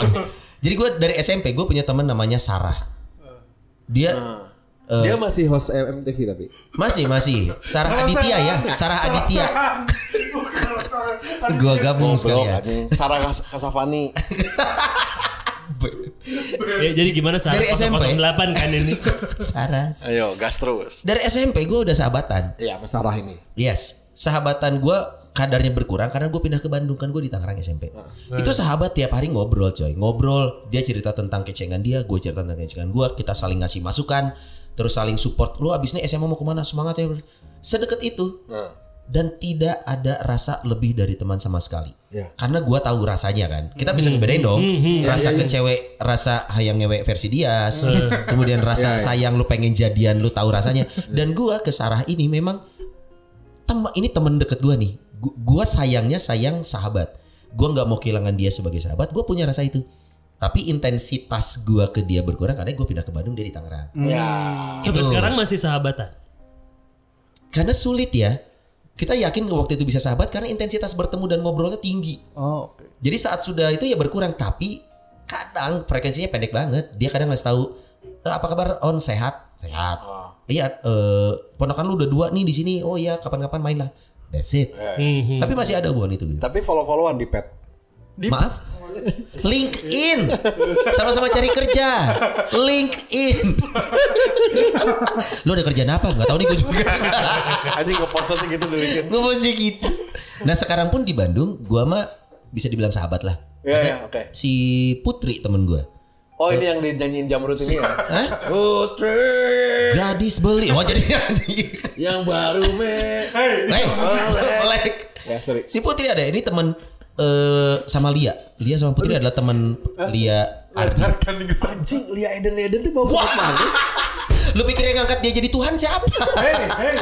A: Jadi gue dari SMP gue punya teman namanya Sarah. Dia eh,
C: Dia masih host MTV tapi.
A: masih masih Sarah Aditya ya, Sarah Aditya. Gua gabung sekalian.
C: Goblok, Sarah Kas- Kasavani.
D: Ya, jadi gimana Sarah
A: Dari SMP?
D: 008 kan ini?
A: Sarah.
C: Ayo, gas terus.
A: Dari SMP gue udah sahabatan.
C: Iya, sama Sarah ini.
A: Yes, sahabatan gue kadarnya berkurang karena gue pindah ke Bandung kan gue di Tangerang SMP. Itu sahabat tiap hari ngobrol coy, ngobrol dia cerita tentang kecengan dia, gue cerita tentang kecengan gue, kita saling ngasih masukan, terus saling support. Lu abis ini SMA mau kemana? Semangat ya. bro." Sedekat itu
C: Nah,
A: dan tidak ada rasa lebih dari teman sama sekali.
C: Iya.
A: Karena gue tahu rasanya kan, kita bisa ngebedain dong.
D: Hmm.
A: Rasa ke cewek, rasa hayang ngewek versi Dias, kemudian rasa sayang lu pengen jadian lu tahu rasanya. Dan gue ke Sarah ini memang tem ini temen deket gue nih Gu- gua sayangnya sayang sahabat gua nggak mau kehilangan dia sebagai sahabat gue punya rasa itu tapi intensitas gua ke dia berkurang karena gue pindah ke Bandung dia di Tangerang
B: Hmm.
C: Ya.
D: Sampai
A: Gitu.
D: sekarang masih sahabatan.
A: karena sulit ya kita yakin waktu itu bisa sahabat karena intensitas bertemu dan ngobrolnya tinggi
B: Oh, oke.
A: jadi saat sudah itu ya berkurang tapi kadang freekuensinya pendek banget dia kadang nggak tahu "Eh, apa kabar on sehat sehat
C: Oh,
A: iya eh, ponakan lu udah dua nih di sini oh iya kapan-kapan main lah that's it
C: eh.
D: Mhm.
A: tapi masih ada hubungan itu gitu.
C: Tapi follow-followan di pet.
B: Di
A: maaf LinkedIn. Sama-sama cari kerja. LinkedIn. Lu ada kerjaan apa? Gak tau nih gue juga.
C: Anjing ngepostnya gitu di LinkedIn.
A: Gue mesti gitu. Nah sekarang pun di Bandung, gua mah bisa dibilang sahabat lah.
C: Iya,
A: Ada
C: iya, oke.
A: Si Putri temen gua.
C: Oh ini yang dinyanyiin jamrut ini ya?
A: Hah?
C: Putri
A: Gadis beli. Oh jadi
C: yang baru me.
A: Hey, melek.
C: Ya sorry.
A: Si Putri ada ini temen eh sama Lia. Lia sama Putri adalah temen Lia Ardi.
B: Lancarkan nih Gus Anji.
C: Anjing Lia Eden Lia Eden tuh bawa ke mana?
A: Lu pikir yang ngangkat dia jadi Tuhan siapa?
B: Hei, hei.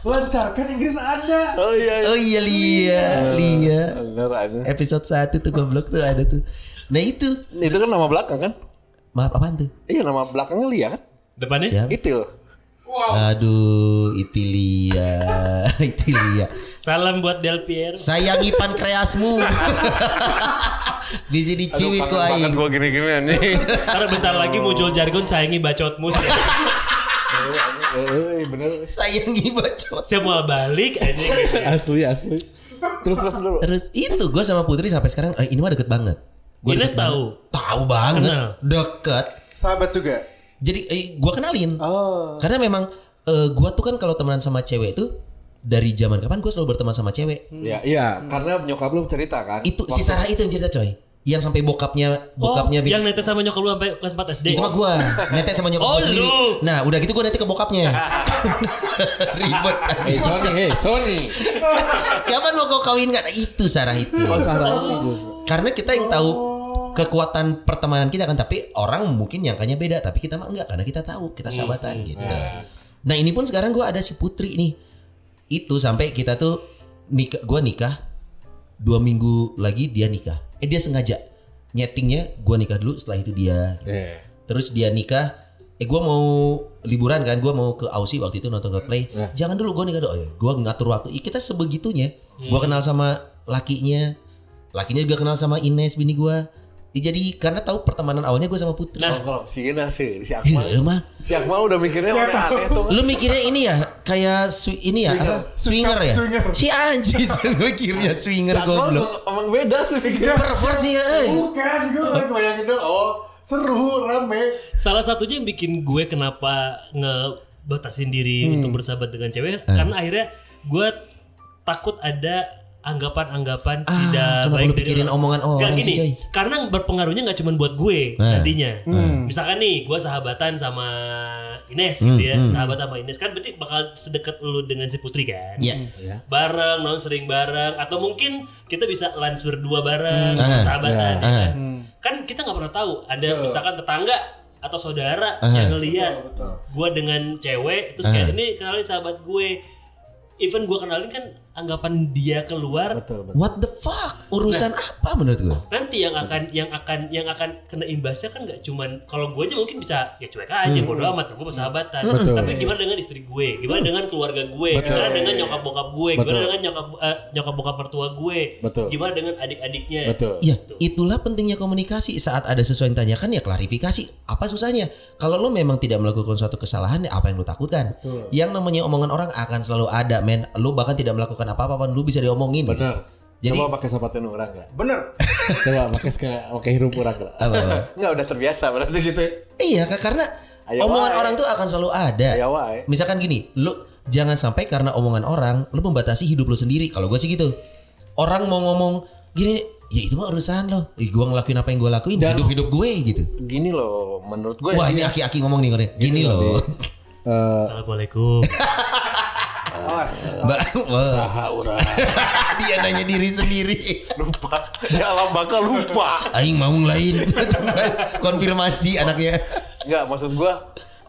B: Lancarkan Inggris Anda.
C: Oh iya.
A: Oh iya Lia, Lia.
C: Bener ada.
A: Episode 1 tuh goblok tuh ada tuh. Nah itu.
C: Itu kan nama belakang kan?
A: Maaf apaan tuh?
C: Iya nama belakangnya Lia kan?
D: Depannya
A: Siapa?
C: Itil.
A: Aduh, Itilia, Itilia.
D: salam buat Del Piero.
A: Sayangi pankreasmu. Bisa diciwit ku aing.
C: gue gini-gini anjing.
D: Karena bentar lagi muncul jargon sayangi bacotmu.
C: Eh bener.
A: Sayangi bacot.
D: Saya mau balik anjing.
E: Asli asli.
C: Terus terus dulu.
A: Terus itu gue sama Putri sampai sekarang eh, ini mah deket banget. Gua
D: Ines
A: deket
D: tahu?
A: banget. Tahu banget.
D: Iya. Kenal?
A: Deket.
B: Sahabat juga.
A: Jadi eh, gue kenalin.
B: Oh.
A: Karena memang eh, gua gue tuh kan kalau temenan sama cewek itu dari zaman kapan gue selalu berteman sama cewek.
C: Ya iya karena nyokap lu cerita kan.
A: Hmm. Itu si Sarah itu yang cerita coy. Yang sampai bokapnya bokapnya Iya.
D: oh,
A: bikin-
D: yang netes sama nyokap lu sampai kelas 4 SD.
A: Itu mah gue Nete sama nyokap
D: Oh,
A: gue sendiri
D: lu.
A: Nah udah gitu gue nete ke bokapnya Ribet
C: Hey Sony, hey Sony.
A: Kapan mau kau kawin kan Itu Sarah itu
C: Oh Sarah ini justru.
A: Karena kita yang tahu Kekuatan pertemanan kita kan Tapi orang mungkin nyangkanya beda Tapi kita mah enggak Karena kita tahu Kita sahabatan gitu Nah ini pun sekarang gue ada si Putri nih Itu sampai kita tuh nikah Gue nikah Dua minggu lagi dia nikah Eh dia sengaja Nyetingnya gue nikah dulu Setelah itu dia gitu.
C: Eh.
A: Terus dia nikah. Eh gue mau liburan kan, gue mau ke Aussie waktu itu nonton Godplay. Jangan dulu gue nikah dulu. Oh, ya. Gue ngatur waktu. Ih, kita sebegitunya. Gue kenal sama lakinya. Lakinya juga kenal sama Ines bini gue. jadi karena tahu pertemanan awalnya gue sama Putri. Oh,
D: Nah.
C: Kalau kalau si Gina sih si
A: Ih,
C: Akmal.
A: emang.
C: Si Akmal udah mikirnya udah aneh tuh.
A: Iya, Lu mikirnya ini ya kayak swi- ini ya apa? swinger, ya?
B: Swinger.
A: Si anjing mikirnya swinger
C: Si Akmal
A: goblok.
C: emang- emang beda sih mikirnya.
A: Pervert sih eh.
B: Bukan, gue lagi bayangin dong. Oh, seru, rame.
D: Salah satunya yang bikin gue kenapa ngebatasin diri
A: Hmm.
D: untuk bersahabat dengan
A: Eh.
D: cewek karena akhirnya gue takut ada anggapan-anggapan
A: Ah,
D: tidak
A: kenapa
D: baik
A: lu pikirin omongan
D: Nggak,
A: orang sih,
D: gini,
A: Coy?
D: karena berpengaruhnya nggak cuma buat
A: Eh,
D: gue nantinya. Misalkan nih gue sahabatan sama Ines
A: Hmm,
D: gitu ya, sahabat sama Ines kan berarti bakal sedekat lu dengan si Putri kan?
A: Iya.
D: Bareng, non sering bareng, atau mungkin kita bisa lunch berdua bareng,
A: Hmm.
D: sahabatan.
A: Ah,
D: ya
A: ah.
D: kan? kan kita nggak pernah tahu ada misalkan tetangga atau saudara yang ngeliat gue dengan cewek terus kayak ini kenalin sahabat gue even gue kenalin kan anggapan dia keluar
C: Betul betul.
A: What the fuck? Urusan apa menurut gue?
D: nanti yang akan yang akan yang akan kena imbasnya kan nggak cuman kalau gue aja mungkin bisa ya cuek aja bodo amat gue persahabatan tapi gimana dengan istri gue gimana dengan keluarga gue gimana dengan nyokap bokap gue gimana
C: Betul.
D: dengan nyokap eh, nyokap bokap mertua gue
C: Betul.
D: gimana dengan adik-adiknya
C: Betul.
A: Ya, itulah pentingnya komunikasi. Saat ada sesuatu yang tanyakan ya klarifikasi. Apa susahnya? Kalau lo memang tidak melakukan suatu kesalahan, ya apa yang lo takutkan? Yang namanya omongan orang akan selalu ada, men. Lo bahkan tidak melakukan apa-apa pun lo bisa diomongin.
C: Benar.
A: Jadi-
C: Coba pakai sepatu orang enggak?
B: Bener.
C: Coba pakai sekali pakai hirup orang enggak?
A: Apa-apa.
C: Enggak udah terbiasa berarti gitu. ya.
A: eh, Iya, Kak, karena
C: Ayo,
A: omongan
C: wae.
A: orang tuh akan selalu ada.
C: Ayo, wae.
A: Misalkan gini, lo jangan sampai karena omongan orang lo membatasi hidup lo sendiri. Kalau gue sih gitu. Orang mau ngomong gini, ya itu mah urusan lo. Ih, gue ngelakuin apa yang gue lakuin, hidup-hidup gue gitu.
C: Gini loh menurut gue
A: Wah iya.
C: ya,
A: ini aki-aki ngomong nih Kore. Gini loh.
D: assalamualaikum
B: Awas.
A: Mbak, wah,
C: saha orang
A: dia nanya diri sendiri.
C: lupa di alam bakal lupa.
A: Aing mau lain. Konfirmasi anaknya.
C: Enggak maksud gue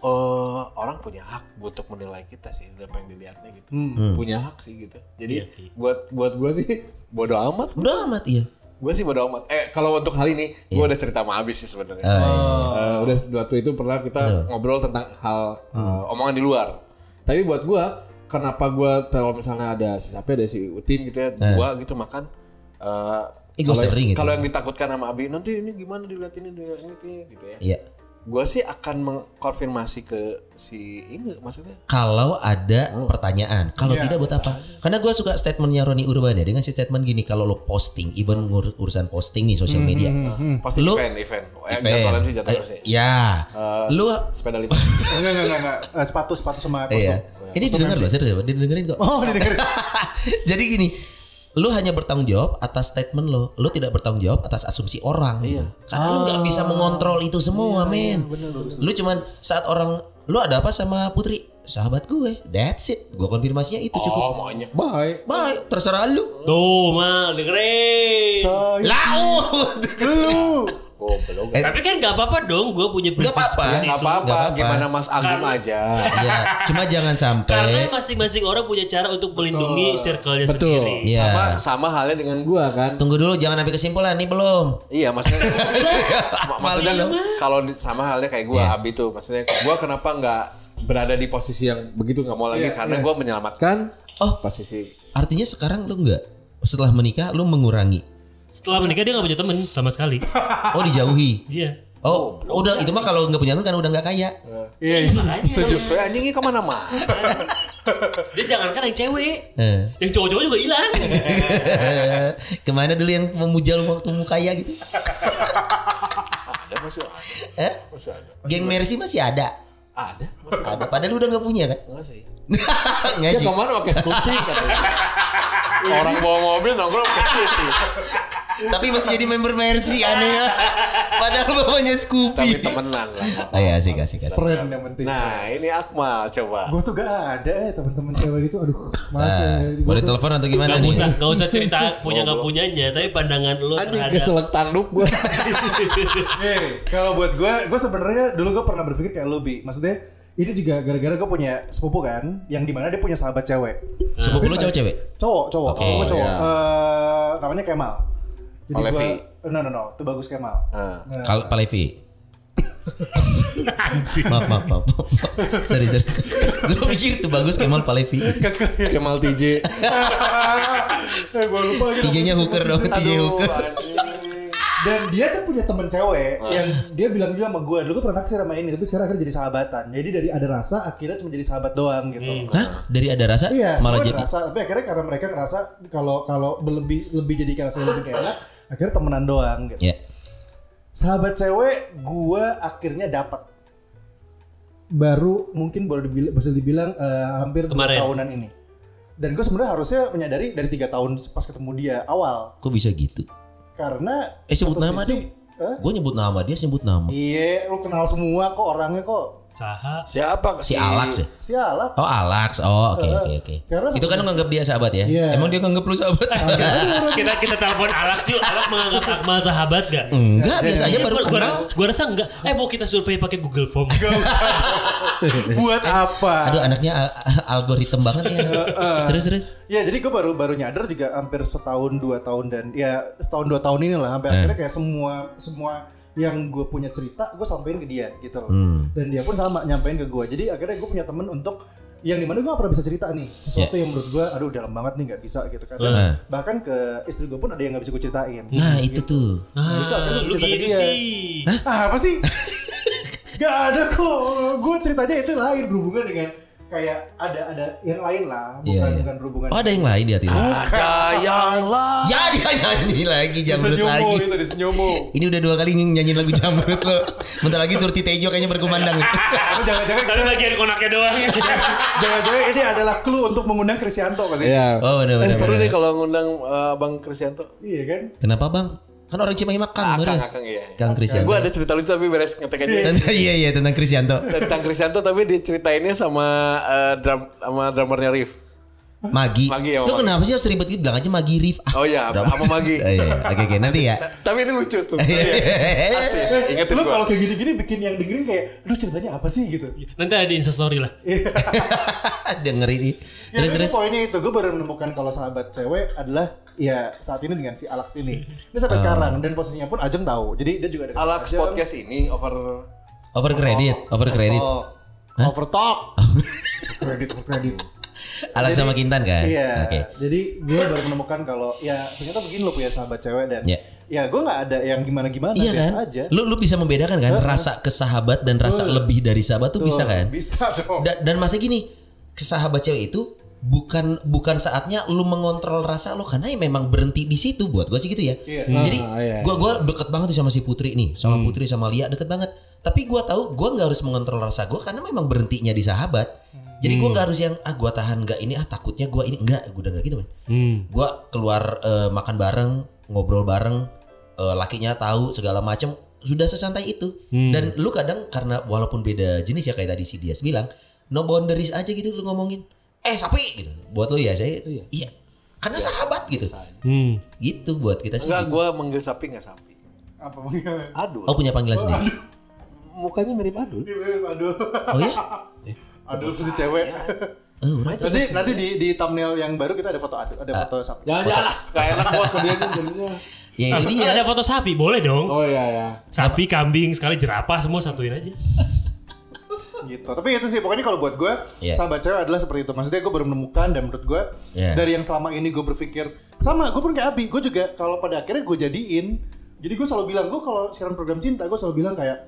C: eh, orang punya hak untuk menilai kita sih udah pengen dilihatnya gitu
A: Hmm.
C: punya hak sih gitu jadi buat buat gue sih bodo amat
A: Udah amat iya.
C: gue sih bodo amat eh kalau untuk hal ini gue udah cerita sama abis sih sebenarnya
A: Ah, iya.
C: Eh, udah waktu itu pernah kita ngobrol tentang hal eh,
A: Hmm.
C: omongan di luar. Tapi buat gua kenapa gua kalau misalnya ada si Sapi ada si Utin gitu ya, dua gitu makan eh
A: Eh, gua
C: kalau-
A: sering gitu.
C: Kalau yang ditakutkan sama Abi nanti ini gimana dilihat ini dilihat ini, ini," gitu ya.
A: Iya.
C: Gua sih akan mengkonfirmasi ke si ini maksudnya.
A: Kalau ada pertanyaan, kalau
B: Iya,
A: tidak buat apa? Karena gue suka statementnya Roni Urban ya. Dia ngasih statement gini, kalau lo posting, even ngur- urusan posting nih sosial media,
C: Pasti
A: Lu-
C: event, event. Eh,
A: Pen.
C: jadwal MC, jadwal
A: Eh,
C: MC.
A: Ya,
C: Eh,
A: lu
C: sepeda lipat.
B: Enggak enggak enggak, enggak. Eh, sepatu sepatu sama
A: Iya.
B: kostum.
A: Ini didengar loh, serius ya, didengerin kok.
B: Oh, didengerin.
A: Jadi gini, lu hanya bertanggung jawab atas statement lo. Lu tidak bertanggung jawab atas asumsi orang. Karena lu nggak bisa mengontrol itu semua, men. lu cuman saat orang lu ada apa sama Putri? Sahabat gue. That's it. Gua konfirmasinya itu cukup.
C: Oh, maunya. Bye.
A: Bye, terserah lu.
D: Tuh, mal dengerin.
B: Say,
A: Laut.
B: dulu.
C: Goblok.
A: Eh,
D: Tapi kan gak apa-apa dong gue punya prinsip
A: apa-apa.
C: Ya
D: seperti
C: nggak
D: itu.
A: nggak
C: apa-apa,
A: apa-apa.
C: gimana Mas Agung aja.
A: Iya, cuma jangan
D: Karena
A: sampai
D: masing-masing orang punya cara untuk melindungi circle-nya
C: Betul.
D: sendiri.
C: Sama
A: Iya.
C: sama halnya dengan gua kan.
A: Tunggu dulu jangan sampai kesimpulan nih belum.
C: Iya maksudnya mak- maksudnya
A: Malu.
C: kalau di- sama halnya kayak gue Abi tuh maksudnya gue kenapa nggak berada di posisi yang begitu nggak mau lagi karena gue menyelamatkan
A: Oh.
C: posisi
A: Artinya sekarang lu nggak setelah menikah lu mengurangi.
D: Setelah menikah dia gak punya temen sama sekali.
A: Oh dijauhi.
D: Iya.
A: Oh, udah itu mah kalau nggak punya teman kan udah nggak kaya.
B: Iya, iya.
C: setuju saya anjingnya kemana-mana
D: Dia jangankan yang cewek.
A: Eh.
D: Yang cowok-cowok juga hilang.
A: Kemana dulu yang memuja lu waktu mu kaya gitu?
C: ada masih ada
A: Eh?
C: masih ada
A: Geng Mercy masih ada.
C: ada masih
A: Ada
C: ada
A: padahal lu udah nggak punya kan?
C: masih
A: Nggak
C: dia
A: Iya sih.
C: kemana pakai skupi katanya orang bawa mobil nongkrong pakai skupi
A: Tapi masih jadi member Mercy aneh. ya. Padahal bapaknya
C: tapi
A: Scoopy.
C: temenan lah
A: Ah, iya, asik, asik, asik.
B: Friend yang penting.
C: nah ini Akmal coba
B: Gue tuh gak ada ya teman-teman cewek gitu. Aduh, maaf ya.
A: Ah,
B: Gua
A: boleh
B: tuh-
A: telepon atau gimana
D: Gak
A: nih?
D: usah, gak usah cerita punya gak punyanya. Tapi pandangan lu
C: anjing
D: terhadap
C: keselak tanduk gue
B: Eh, kalau buat gue, gue sebenarnya dulu gue pernah berpikir kayak lu, Bi. Maksudnya ini juga gara-gara gue punya sepupu kan, yang dimana dia punya sahabat cewek.
A: Sepupu lu cowok cewek?
B: Cowok, cowok, sepupu cowok.
A: Iya.
B: Eh, namanya Kemal.
A: Oh,
B: Jadi
C: Olevi.
B: gue, no no no, itu bagus Kemal.
A: Ah.
C: Nah.
A: Kalau Pak Levi. maaf, maaf, maaf, maaf. Sorry, sorry. Gue pikir tuh bagus Kemal Pak Levi.
C: Kemal TJ
B: Eh, gue lupa lagi.
A: TJ-nya hooker dong, TJ hooker.
B: Dan dia tuh punya temen cewek
A: Ah.
B: yang dia bilang juga sama gue, dulu gue pernah naksir sama ini, tapi sekarang akhirnya jadi sahabatan. Jadi dari ada rasa, akhirnya cuma jadi sahabat doang gitu.
A: Hah? Dari ada rasa
B: Iya,
A: malah
B: semua
A: jadi.
B: ngerasa, tapi akhirnya karena mereka ngerasa kalau kalau lebih lebih jadi karena saya lebih kayak enak, akhirnya temenan doang gitu.
A: Ya.
B: Sahabat cewek gua akhirnya dapat baru mungkin baru dibilang bisa dibilang eh, hampir dua
D: Kemarin.
B: tahunan ini. Dan gue sebenarnya harusnya menyadari dari tiga tahun pas ketemu dia awal
A: Kok bisa gitu?
B: karena
A: Eh, sebut
B: satu
A: nama
B: sisi- Eh?
A: Gue nyebut nama dia, nyebut nama.
B: Iya, lu kenal semua kok orangnya kok.
D: Saha.
C: siapa
A: Si Alex ya?
B: Sialap.
A: Oh Alex, oh oke oke oke.
B: Karena
A: Itu kan
B: satu
A: lu nganggap dia sahabat ya?
B: Iya.
A: Emang dia nganggap lu sahabat?
D: Iya. Kita kita telepon Alex yuk. Alex menganggap Akmal sahabat gak?
A: Enggak, biasa aja Mm. baru
D: Gua, gua,
A: kenal.
D: gua rasa enggak. Eh mau kita survei pakai Google Form.
B: Buat
A: Eh,
B: apa?
A: Aduh anaknya a- a- algoritm banget ya. Terus terus.
B: Ya jadi gue baru baru nyadar juga hampir setahun dua tahun dan ya setahun dua tahun ini lah
A: Eh.
B: hampir akhirnya kayak semua semua yang gue punya cerita gue sampein ke dia gitu loh
A: Hmm.
B: dan dia pun sama nyampein ke gue jadi akhirnya gue punya temen untuk yang dimana gue gak pernah bisa cerita nih sesuatu
A: Ya.
B: yang menurut gue aduh dalam banget nih nggak bisa gitu kan Dan
A: Nah.
B: bahkan ke istri gue pun ada yang nggak bisa gue ceritain
A: Nah itu tuh.
B: Nah, itu akhirnya
D: Ah, lu
B: cerita ke
D: gitu
B: dia.
D: sih.
B: ah apa sih gak ada kok gue ceritanya itu lain berhubungan dengan kayak ada ada yang lain lah bukan
A: Iya, iya.
B: bukan berhubungan
A: Oh ada yang lain di hati lu.
C: ada yang lah
A: Ya dia nyanyi lagi jamrut iya, lagi. Ini udah dua kali nyanyiin lagu jamrut lo. Bentar lagi Surti Tejo kayaknya berkumandang.
B: Tapi jangan-jangan
D: Tapi bagian konaknya doang.
B: jangan-jangan ini adalah clue untuk mengundang Krisyanto pasti.
E: Iya.
A: Oh benar
C: Eh,
A: benar.
C: seru
A: benar.
C: nih kalau ngundang eh, Bang Krisyanto.
B: Iya kan?
A: Kenapa bang? Kan orang Cimahi makan.
C: Akang,
A: bener.
C: Akang ya.
A: Kang Krisyanto.
C: Gue ada cerita lucu tapi beres ngetek aja.
A: Tentang- Iya iya tentang Krisyanto.
C: Tentang Krisyanto tapi diceritainnya sama eh, drum sama drummernya Rif.
A: Magi.
C: Magi ya,
A: Lu
C: Magi.
A: kenapa sih harus ribet gitu? Bilang aja Magi Rif.
C: Oh iya,
A: udah.
C: sama Magi.
A: Eh, iya. Oke oke nanti ya.
C: Tapi ini lucu tuh. Asli, Ingetin
B: Eh, Lu
C: gua.
B: kalau kayak gini-gini bikin yang dengerin kayak, lu ceritanya apa sih gitu?
D: Nanti ada di instastory lah.
A: Dengerin ini.
B: Ya
A: Terus
B: itu
A: terus.
B: poinnya itu gue baru menemukan kalau sahabat cewek adalah ya saat ini dengan si Alex ini. Ini sampai
A: Oh.
B: sekarang dan posisinya pun Ajeng tahu. Jadi dia juga ada
C: Alex podcast ini over
A: Over credit, over credit.
B: Oh, over talk. over credit, over credit.
A: Alang sama Kintan kan?
B: Iya.
A: Oke.
B: Jadi gue baru menemukan kalau ya ternyata begini lo punya sahabat cewek dan
A: Iya.
B: ya gue nggak ada yang gimana-gimana
A: Iya
B: biasa
A: kan?
B: aja.
A: Lu lu bisa membedakan kan rasa kesahabat dan rasa lebih dari sahabat tuh bisa kan?
B: Bisa dong.
A: Da- dan masih gini, kesahabat cewek itu bukan bukan saatnya lu mengontrol rasa lo karena ya memang berhenti di situ buat gua sih gitu ya.
B: Iya.
A: Jadi
E: Ah, iya. Hmm.
A: gua gua deket banget tuh sama si Putri nih, sama Putri sama Lia deket banget. Tapi gua tahu gua nggak harus mengontrol rasa gua karena memang berhentinya di sahabat. Jadi
E: Hmm.
A: gua nggak harus yang ah gua tahan nggak ini ah takutnya gua ini enggak, gua udah nggak gitu man.
D: Hmm.
A: Gua keluar eh, makan bareng, ngobrol bareng, eh, lakinya tahu segala macam sudah sesantai itu.
D: Hmm.
A: Dan lu kadang karena walaupun beda jenis ya kayak tadi si Dias bilang, no boundaries aja gitu lu ngomongin. Eh sapi gitu. Buat lu ya saya iya. Karena sahabat gitu.
D: Hmm.
A: Gitu buat kita sih.
C: Enggak, gue manggil sapi nggak sapi.
B: Apa mungkin?
C: Adul.
A: Oh punya panggilan sendiri.
C: Mukanya mirip Adul.
B: Aduh.
A: Oh ya?
B: Aduh si cewek.
A: Oh, right.
B: Nanti nanti di di thumbnail yang baru kita ada foto aduh, ada foto sapi.
C: Jangan-jangan lah, gak enak buat kebiasaan jadinya.
A: Ya itu dia.
D: Ah, Ada foto sapi, boleh dong.
C: Oh iya ya.
D: Sapi, kambing, sekali jerapah semua satuin aja.
B: gitu tapi itu sih pokoknya kalau buat gue
A: Iya.
B: sahabat cewek adalah seperti itu maksudnya gue baru menemukan dan menurut gue
A: Iya.
B: dari yang selama ini gue berpikir sama gue pun kayak Abi gue juga kalau pada akhirnya gue jadiin jadi gue selalu bilang gue kalau siaran program cinta gue selalu bilang kayak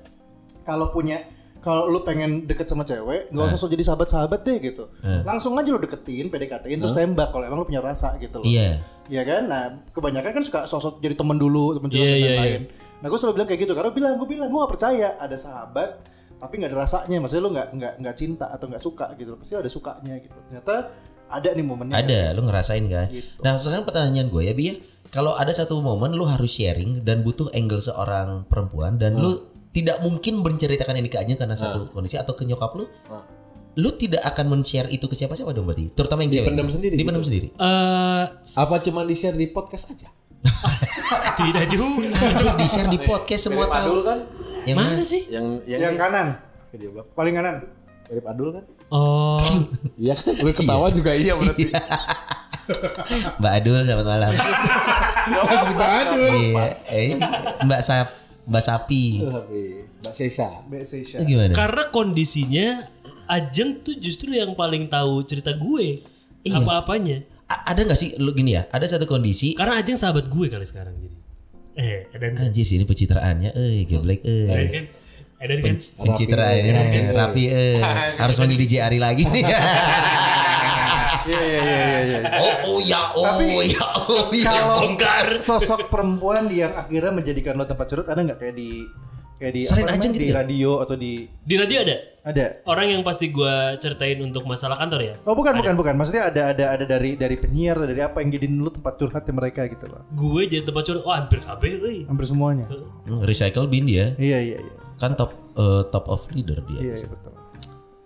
B: kalau punya kalau lu pengen deket sama cewek nggak usah jadi sahabat-sahabat deh gitu langsung aja lu deketin PDKT-in terus tembak kalau emang lu punya rasa gitu loh
A: Iya.
B: Iya kan? Nah, kebanyakan kan suka sosok jadi temen dulu, temen curhat
D: Iya,
B: dan
D: iya,
B: lain. Nah, gue selalu bilang kayak gitu karena gue bilang, gue bilang gue gak percaya ada sahabat tapi nggak ada rasanya, maksudnya lu nggak nggak nggak cinta atau nggak suka gitu, pasti ada sukanya gitu. Ternyata ada nih momennya.
A: Ada, lu ngerasain kan?
B: Iya. Gitu.
A: Nah, sekarang pertanyaan gue ya, Bi ya. Kalau ada satu momen lu harus sharing dan butuh angle seorang perempuan dan lu tidak mungkin menceritakan ini ke Anjeng karena satu kondisi atau ke nyokap lu,
C: Hmm.
A: lu tidak akan men-share itu ke siapa-siapa dong berarti, terutama yang cewek.
C: Dipendam sendiri
A: Dipendam
C: gitu.
A: sendiri.
D: Eh,
C: Apa cuma di share di podcast aja?
D: tidak juga.
A: Anjing di-share di podcast semua
C: Mirip
A: tahu.
C: Adul kan?
A: Yang mana?
D: Mana sih?
C: Yang yang,
B: Yang kanan,
C: Dia bilang,
B: paling kanan.
C: mirip Adul kan?
D: Oh,
C: Iya kan? Lu ketawa juga iya berarti.
A: Mbak Adul selamat malam.
C: Mirip Adul.
A: Iya. Eh, Mbak Sap, Mbak Sapi.
C: Tapi Mbak Sesa.
B: Mbak Seisha.
A: Itu gimana?
D: karena kondisinya Ajeng tuh justru yang paling tahu cerita gue.
A: Iya.
D: Apa-apanya.
A: A- ada nggak sih lu gini ya? Ada satu kondisi
D: Karena Ajeng sahabat gue kali sekarang jadi. Eh, Edan kan?
A: anjir sini pencitraannya eh geblek eh.
D: Edan kan? Edan kan?
A: Pencitraan ini
C: Rapi,
A: eh,
C: eh.
A: Rapi eh. harus manggil DJ Ari lagi nih.
B: Iya iya iya iya. iya.
A: oh, oh ya oh
B: Tapi,
A: ya oh ya.
B: Kalau
D: bongkar.
B: sosok perempuan yang akhirnya menjadikan lo tempat curhat ada nggak kayak di kayak di
A: Selain
B: namanya,
A: Ajeng gitu
B: di
A: ya?
B: radio atau di
D: Di radio ada
B: ada
D: orang yang pasti gue ceritain untuk masalah kantor ya.
B: Oh bukan bukan bukan maksudnya ada ada ada dari dari penyiar atau dari apa yang jadiin lu tempat curhatnya mereka gitu loh
D: Gue jadi tempat curhat. Oh, hampir KB, euy.
B: hampir semuanya
A: Hmm, Recycle bin dia
B: iya iya iya
A: kan top eh, top of leader dia.
B: iya iya, betul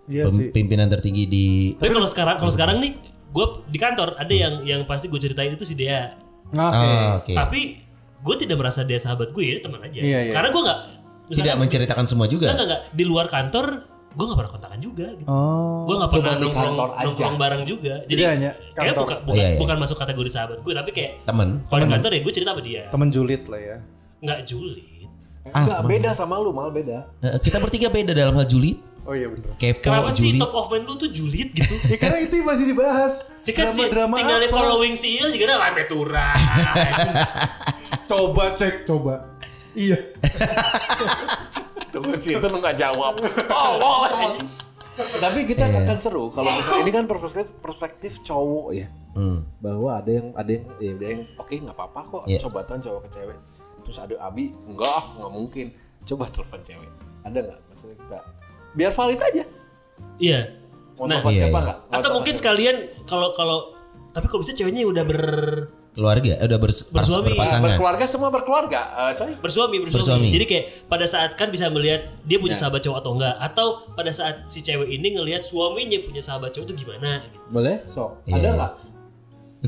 B: iya
A: Pem-
B: sih
A: Pimpinan tertinggi di
D: Tapi kalau sekarang kalau sekarang nih gue di kantor ada yang yang pasti gue ceritain itu si Dea.
B: oke
A: Ah, oke.
D: Tapi gue tidak merasa dia sahabat gue, ya teman aja.
B: Iya, iya.
D: Karena gue nggak
A: Tidak menceritakan semua juga.
D: Enggak, enggak, enggak. di luar kantor gue nggak pernah kontakan juga gitu.
B: oh
D: Gue nggak
C: Cuma
D: pernah
C: di
D: nongkrong,
C: kantor aja.
D: nongkrong bareng juga. Jadi
B: Jadi hanya
D: kayak
B: kantor.
D: bukan bukan,
A: Iya, iya.
D: bukan masuk kategori sahabat gue, tapi kayak
A: Temen.
D: kalau di kantor ya gue cerita sama dia.
B: temen julid lah ya
D: Nggak julid.
C: Enggak beda sama lu, mal beda.
A: Eh, kita bertiga beda dalam hal julid.
B: oh iya bener
A: Kepo
D: Kenapa sih
A: julid.
D: top of mind lu tuh julid gitu?
B: ya karena itu masih dibahas
D: Jika
B: drama drama
D: tinggal di
B: apa
D: following si Iya, jika ada Tura.
B: coba cek Eh, coba iya
C: Tuh si itu lu nggak jawab. Tolol emang. Tapi kita akan seru kalau misalnya ini kan perspektif perspektif cowok ya.
A: Hmm.
C: bahwa ada yang ada yang ya, ada yang oke nggak apa-apa kok
A: Iya.
C: sobatan cowok ke cewek terus ada abi enggak ah, nggak mungkin coba telepon cewek ada nggak maksudnya kita biar valid aja
D: Iya.
C: mau
D: Nah,
C: telepon
A: iya,
C: siapa
A: iya.
C: nggak Mau
D: Atau
C: telepon
D: mungkin
C: siapa?
D: sekalian kalau kalau tapi kalau bisa ceweknya udah ber
A: Keluarga eh, udah bers-
D: Bersuami.
C: Nah,
A: berpasangan.
C: berkeluarga semua berkeluarga eh, coy
D: bersuami, bersuami
A: Bersuami. Ya.
D: Jadi kayak pada saat kan bisa melihat dia punya
C: Nah.
D: sahabat cowok atau enggak atau pada saat si cewek ini ngelihat suaminya punya sahabat cowok itu gimana gitu.
C: boleh so
A: Iya.
C: ada nggak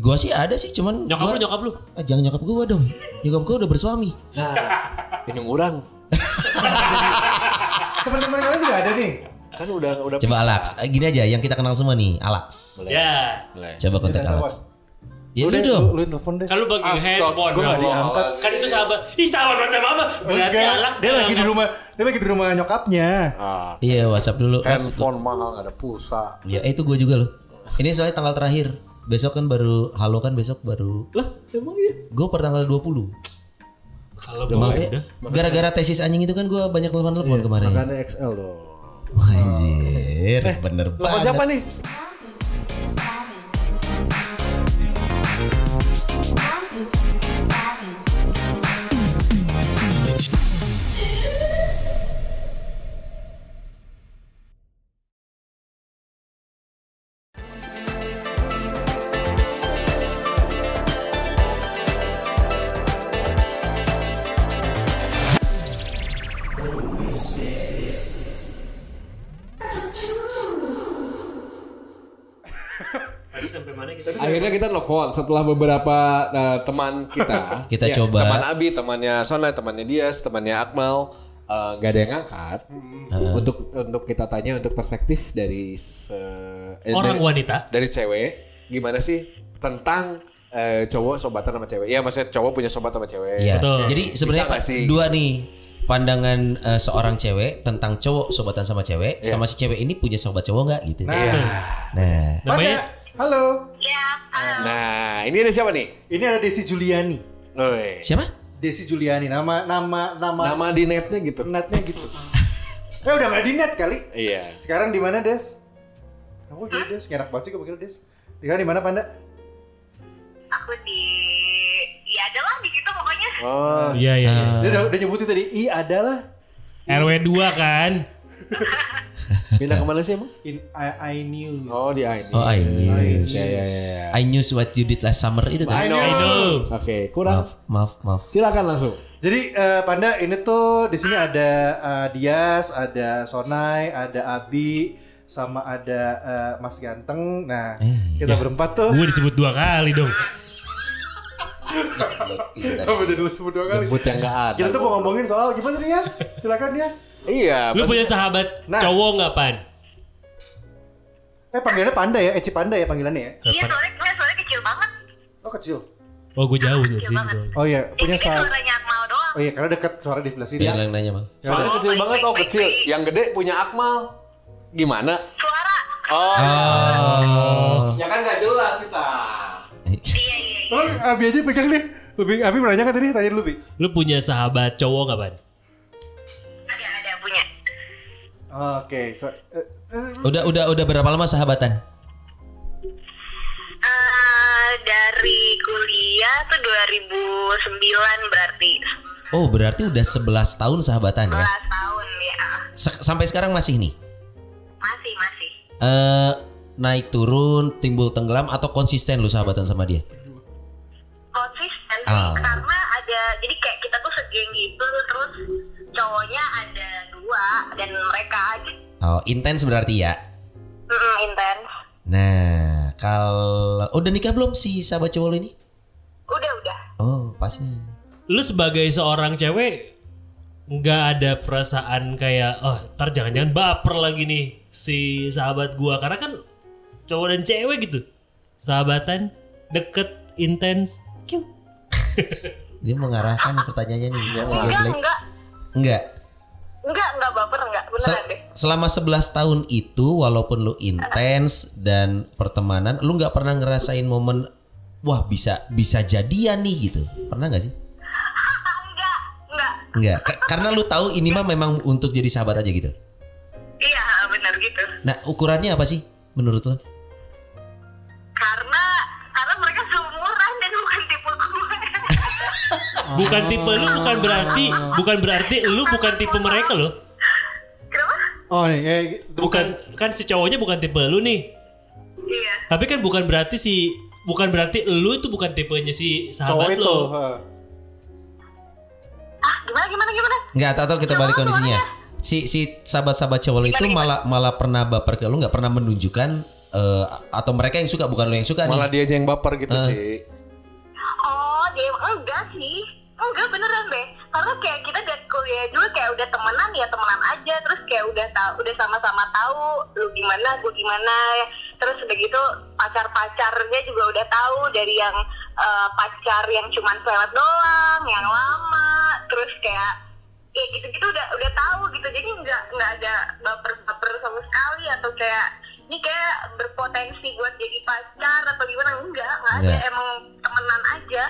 A: Gua sih ada sih cuman
D: Nyokap
A: gua-
D: lu nyokap lu.
A: Ah, jangan nyokap gua dong. Nyokap gua udah bersuami.
C: nah ini orang
B: teman-teman kalian juga ada nih
C: kan udah udah
A: Coba
C: pisah.
A: Alex, eh, gini aja yang kita kenal semua nih, Alex.
C: boleh
D: Ya.
C: boleh
A: Coba kontak Alex. Ya udah dong.
B: lu yang telepon deh
D: Kalau bagi Kan handphone
C: Astagfirullah.
D: dong. kan itu sahabat. Ih, sahabat macam apa? Berarti Alex
B: Oh, Enggak, dia lagi di rumah, dia lagi di rumah nyokapnya.
C: Ah,
A: Iya, WhatsApp dulu. Lex.
C: handphone mahal nggak ada pulsa
A: Ya, eh, itu gua juga loh. Ini soalnya tanggal terakhir. Besok kan baru halo kan besok baru.
C: Lah, emang iya.
A: Gue per tanggal 20.
D: Kalau
C: Oh,
A: Maaf
D: gue
A: ya. Gara-gara tesis anjing itu kan gue banyak
C: Iya,
A: telepon-telepon kemarin.
C: Makanya XL dong.
A: Wah, Anjir, bener
C: Eh, Telepon siapa
A: banget.
C: nih?
D: Tadi sampai mana
B: Eh,
D: kita?
C: Akhirnya kita nelfon setelah beberapa eh, teman kita. Iya,
A: Kita coba.
C: Teman Abi, temannya Sona, temannya Dias, temannya Akmal eh, nggak ada yang ngangkat.
A: Hmm.
C: Untuk untuk kita tanya untuk perspektif dari se- eh,
D: Orang
C: dari,
D: wanita.
C: dari cewek gimana sih tentang eh, cowok sobatan sama cewek? Iya, maksudnya cowok punya sobat sama cewek.
A: Iya.
D: Betul.
A: Jadi sebenarnya
C: Bisa nggak sih?
A: dua nih pandangan eh, seorang cewek tentang cowok sobatan sama cewek sama si cewek ini punya sobat cowok nggak gitu.
C: Iya.
A: Nah,
D: Namanya
B: Halo.
C: Nah, ini ada siapa nih?
B: Ini ada Desi Juliani.
C: Woi.
A: siapa?
B: Desi Juliani nama nama nama,
C: Nama di netnya gitu.
A: Nah.
B: netnya gitu. eh udah nggak di net kali.
C: Iya.
B: Sekarang di mana Des? Aku jadi Des, nggak enak banget sih gue panggil Des. Sekarang di mana Panda?
F: aku di ya adalah di situ pokoknya
C: Oh,
D: Iya iya. iya.
B: Dia udah, udah nyebutin tadi I adalah
A: Ah.
D: RW 2 kan.
C: pindah kemana sih emang?
B: in I, I knew.
C: Oh, di ID.
A: Oh, I knew.
C: Iya, iya, iya.
A: I knew what you did last summer itu kan.
C: I know.
D: I know.
C: Oke, kurang.
A: Maaf, maaf, maaf.
C: Silakan langsung.
B: Jadi eh, Panda ini tuh di sini ada eh, Dias, ada Sonai, ada Abi, sama ada eh, Mas Ganteng. Nah, kita berempat tuh.
D: Gue disebut dua kali dong.
B: Apa jadi lu sebut dua kali?
C: Debut yang gak ada.
B: Kita tuh mau ngomongin soal gimana nih Yas? Silakan Yas.
C: Iya,
D: Lu
C: pasti-
D: punya sahabat
B: Nah.
D: cowok nggak pan?
B: Eh panggilannya Panda ya, Eci Panda ya panggilannya ya.
F: iya soalnya enggak, soalnya kecil banget
B: Oh kecil.
D: Oh gue jauh dari sini.
F: banget.
D: gua.
B: Oh iya, punya
F: ini
B: saat.
F: suaranya Akmal doang
B: Oh iya, karena dekat suara di sebelah sini.
A: Biar yang nanya, Bang.
C: Soalnya
F: Oh,
C: kecil
F: baik,
C: banget,
F: baik,
C: oh
F: baik,
C: kecil.
F: baik.
C: Yang gede punya Akmal. Gimana?
F: suara
C: Oh,
A: Ah. Oh.
C: ya kan gak jelas kita.
F: iya iya iya
B: Tolong eh, Abi aja pegang deh. Lebih Abi menanyakan tadi, tanya dulu Bi.
D: Lu punya sahabat cowok nggak pan?
F: ada ada punya
B: Oke, so- eh, eh,
A: Udah udah udah berapa lama sahabatan?
F: Eh, dari kuliah tuh 2009 berarti
A: Oh, berarti udah 11 tahun sahabatan ya.
F: 11 tahun ya
A: Se- sampai sekarang masih nih.
F: masih masih
A: Eh naik turun, timbul tenggelam atau konsisten lu sahabatan sama dia?
F: konsisten sih,
A: Ah.
F: karena ada jadi kayak kita tuh segeng gitu terus cowoknya ada dua dan mereka aja
A: Oh, intens berarti ya.
F: mm, intens
A: Nah, kalau udah nikah belum si sahabat cowok lu ini?
F: udah udah
A: Oh, pas nih.
D: Lu sebagai seorang cewek nggak ada perasaan kayak oh ntar jangan-jangan baper lagi nih si sahabat gua karena kan cowok dan cewek gitu sahabatan deket intens Kiu.
A: Dia mengarahkan pertanyaannya nih. Tiga
F: enggak
A: belas-
F: enggak
A: Enggak.
F: enggak enggak baper enggak
A: Se-
F: beneran deh
A: selama 11 tahun itu walaupun lu intens dan pertemanan, lu nggak pernah ngerasain momen wah bisa bisa jadian nih gitu. Pernah nggak sih?
F: Ah, enggak enggak
A: Enggak. Ka- karena lu tahu ini mah memang untuk jadi sahabat aja gitu.
F: iya bener gitu
A: Nah, ukurannya apa sih menurut lo?
F: karena karena mereka seumuran dan bukan tipe gue
D: bukan tipe lu bukan berarti bukan berarti lu bukan tipe mereka loh
F: kenapa
B: oh nih, eh,
D: bukan kan si cowoknya bukan tipe lu nih
F: iya
D: tapi kan bukan berarti si bukan berarti lu itu bukan tipenya si
B: cowok
D: sahabat
B: itu. eh,
D: lu
B: ha.
F: ah gimana gimana gimana
A: Enggak, atau kita balik kondisinya. Si si sahabat-sahabat cowok lo itu malah malah pernah baper ke lu nggak pernah menunjukkan eh, atau mereka yang suka bukan lo yang suka
C: Malah
A: nih.
C: dia aja yang baper gitu,
A: Ah.
C: Ci.
F: oh dia enggak sih enggak beneran deh karena kayak kita dari kuliah dulu kayak udah temenan ya temenan aja terus kayak udah tahu udah sama-sama tahu lu gimana gue gimana terus udah gitu pacar pacarnya juga udah tahu dari yang eh, pacar yang cuman selewat doang yang lama terus kayak ya gitu-gitu udah udah tahu gitu jadi nggak nggak ada baper-baper sama sekali atau kayak ini kayak berpot potensi buat jadi pacar atau gimana enggak enggak ada
A: Enggak.
F: emang temenan aja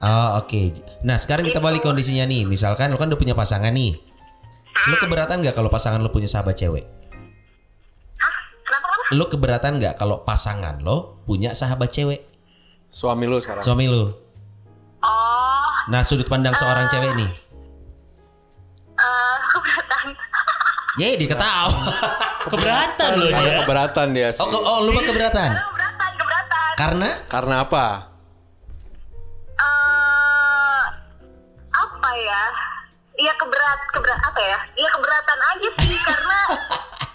A: Oh oke. Nah sekarang kita balik kondisinya nih. Misalkan lu kan udah punya pasangan nih. Lu keberatan nggak kalau pasangan lu punya sahabat cewek?
F: ah kenapa kenapa
A: Lu keberatan nggak kalau pasangan lo punya sahabat cewek?
C: Suami lu sekarang.
A: Suami lu.
F: oh
A: Nah sudut pandang seorang cewek nih.
F: eh, keberatan
A: Yeay diketawa.
D: Keberatan loh dia.
C: Keberatan dia sih.
A: Oh, ke- oh lu mah keberatan.
F: keberatan keberatan
A: Karena
C: Karena apa?
F: eh apa ya? Iya keberat keberat apa ya? Iya keberatan aja sih karena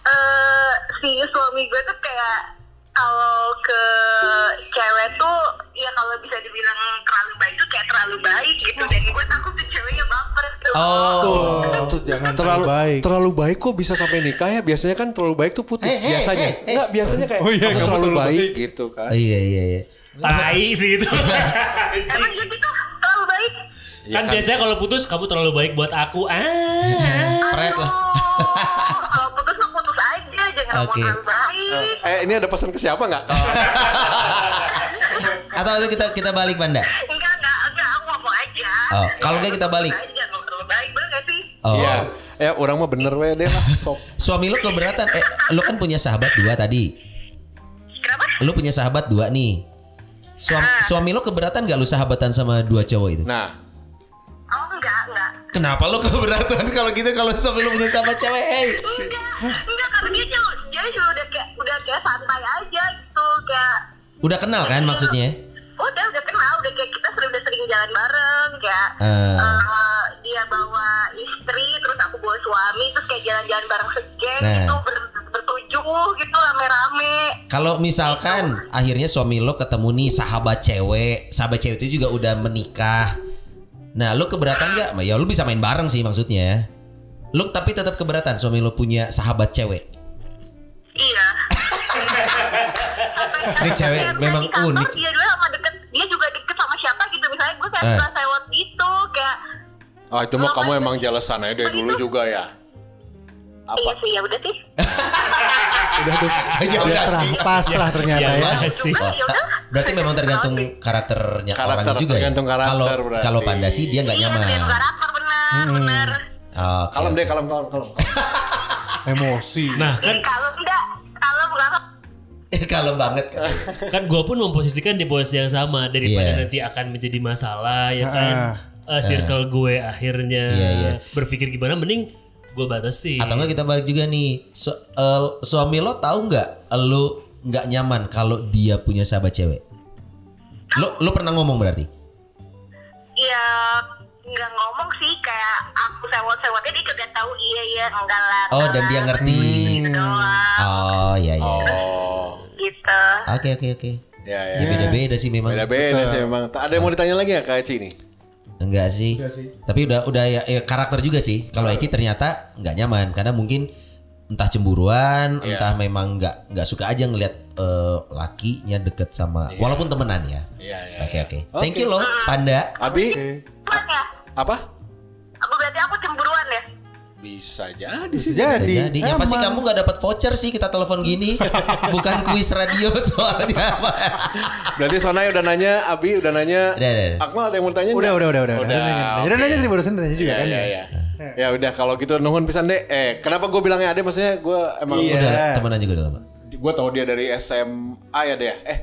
F: eh si suami gue tuh kayak kalau ke cewek tuh ya kalau bisa dibilang terlalu baik tuh kayak terlalu baik gitu dan gue takut si ceweknya baper tuh.
A: oh
B: Oh, tuh jangan
C: Terlalu
B: baik.
C: baik. terlalu baik kok bisa sampai nikah ya. Biasanya kan terlalu baik tuh putus.
A: Eh, eh,
C: biasanya.
A: eh, eh.
C: Enggak, biasanya kayak
B: Oh iya,
C: kamu
B: kamu
C: terlalu
B: terlalu
C: baik,
B: baik.
C: gitu kan.
A: iya iya iya.
D: Tai sih itu.
F: Emang iya gitu terlalu baik.
C: Iya
A: Ya
D: kan
C: kan.
D: biasanya kalau putus kamu terlalu baik buat aku. Ah.
A: Pret lah.
F: Oh, kalau putus mah putus aja jangan ngomong
A: Oke.
F: terlalu baik.
C: Eh, ini ada pesan ke siapa nggak?
A: Atau itu kita kita balik Banda.
F: Enggak enggak enggak aku ngomong aja.
A: Oh, kalau enggak kita balik.
F: Aja jangan ngomong terlalu baik bener gak sih?
A: Oh.
C: Iya. Ya, orang mah bener weh deh lah. Sok.
A: Suami lu keberatan. Eh lu kan punya sahabat dua tadi.
F: Kenapa?
A: Lu punya sahabat dua nih. Suami,
F: Ah.
A: suami lu keberatan gak lu sahabatan sama dua cowok itu?
C: Nah,
F: Oh enggak, enggak.
A: Kenapa lu keberatan kalau gitu kalau suami lu punya sahabat cewek? Hey.
F: Enggak, enggak karena dia juga, dia juga udah kayak udah kayak santai aja gitu kayak
A: Udah kenal kan maksudnya?
F: udah udah kenal udah kayak kita sering udah sering jalan bareng kayak
A: Eh.
F: eh, dia bawa istri terus aku bawa suami terus kayak jalan-jalan bareng segeng
A: Nah.
F: gitu ber, bertujuh gitu rame-rame
A: Kalau misalkan akhirnya suami lo ketemu nih sahabat cewek, sahabat cewek itu juga udah menikah. Nah, lo keberatan gak? Ya lo bisa main bareng sih maksudnya. Lo tapi tetap keberatan suami lo punya sahabat cewek.
F: Iya.
A: Ini cewek memang unik.
F: Dia juga sama deket, dia juga deket sama siapa gitu. Misalnya gue saya
A: Eh.
F: suka sewot gitu, kayak
C: ah itu mah kamu emang jelasan aja dari dulu juga ya.
F: iya
C: Apa?
F: sih ya udah sih.
A: Eh,
B: Udah tuh.
A: Ya udah sih.
B: pasrah ternyata
D: Iya,
B: ya.
D: iya sih.
A: Oh, ta- berarti memang tergantung karakternya
C: Karakter,
A: orang juga ya.
C: tergantung karakter
A: Kalau
C: berarti.
A: kalau panda sih dia nggak
F: Iya,
A: nyaman. Hmm.
F: tergantung karakter benar, benar.
A: Oh,
C: Kalem deh, kalem, kalem, kalem. kalem.
B: Emosi.
D: Nah, kan
F: Jadi kalau enggak, kalau enggak
A: kalem banget kan.
D: kan gue pun memposisikan di posisi yang sama daripada
A: Iya.
D: nanti akan menjadi masalah ya kan
B: Ah.
D: Eh, circle gue akhirnya
A: Iya, iya.
D: berpikir gimana mending gue batasi
A: Atau enggak kita balik juga nih. Su- el- suami lo tahu nggak lo nggak nyaman kalau dia punya sahabat cewek? Lo lo pernah ngomong berarti?
F: ya nggak ngomong sih kayak aku sewot-sewotnya dia juga tahu iya iya enggak lah.
A: Oh
F: enggak
A: dan
F: lah,
A: dia ngerti.
F: gitu doang,
A: Oh iya iya.
C: Oh,
F: gitu.
A: Oke oke oke.
C: ya ya.
A: Ya beda-beda sih memang.
C: Beda-beda sih memang. Tak ada yang mau ditanya lagi ya Kak Eci nih?
A: Enggak sih. Tapi udah udah ya, ya karakter juga sih. Kalau Eci ternyata nggak nyaman karena mungkin entah cemburuan,
C: Iya.
A: entah memang nggak nggak suka aja ngelihat eh, lakinya deket sama walaupun temenan ya.
C: Iya, iya.
A: Oke oke.
C: Oke. Ah,
A: Thank you loh Panda.
C: Abi,
F: Cuman ya,
C: apa?
F: aku berarti aku cemburuan ya.
C: Bisa jadi sih.
A: Bisa
B: Jadi,
A: jadi. Yang pasti kamu nggak dapat voucher sih kita telepon gini. Bukan kuis radio soalnya.
C: Berarti Sonai udah nanya, Abi udah nanya.
A: Udah, udah, udah.
C: Akmal ada yang mau ditanya?
B: Udah,
C: nggak?
B: udah, udah, udah.
C: Udah.
B: Udah nanya tadi barusan nanya juga
C: Iya,
B: kan.
C: iya, iya. Ya udah kalau gitu nuhun pisan deh. Eh, kenapa gue bilangnya ada maksudnya gue emang
B: Iya.
A: udah temenan juga udah lama.
C: gue tau dia dari SMA ya deh. Eh,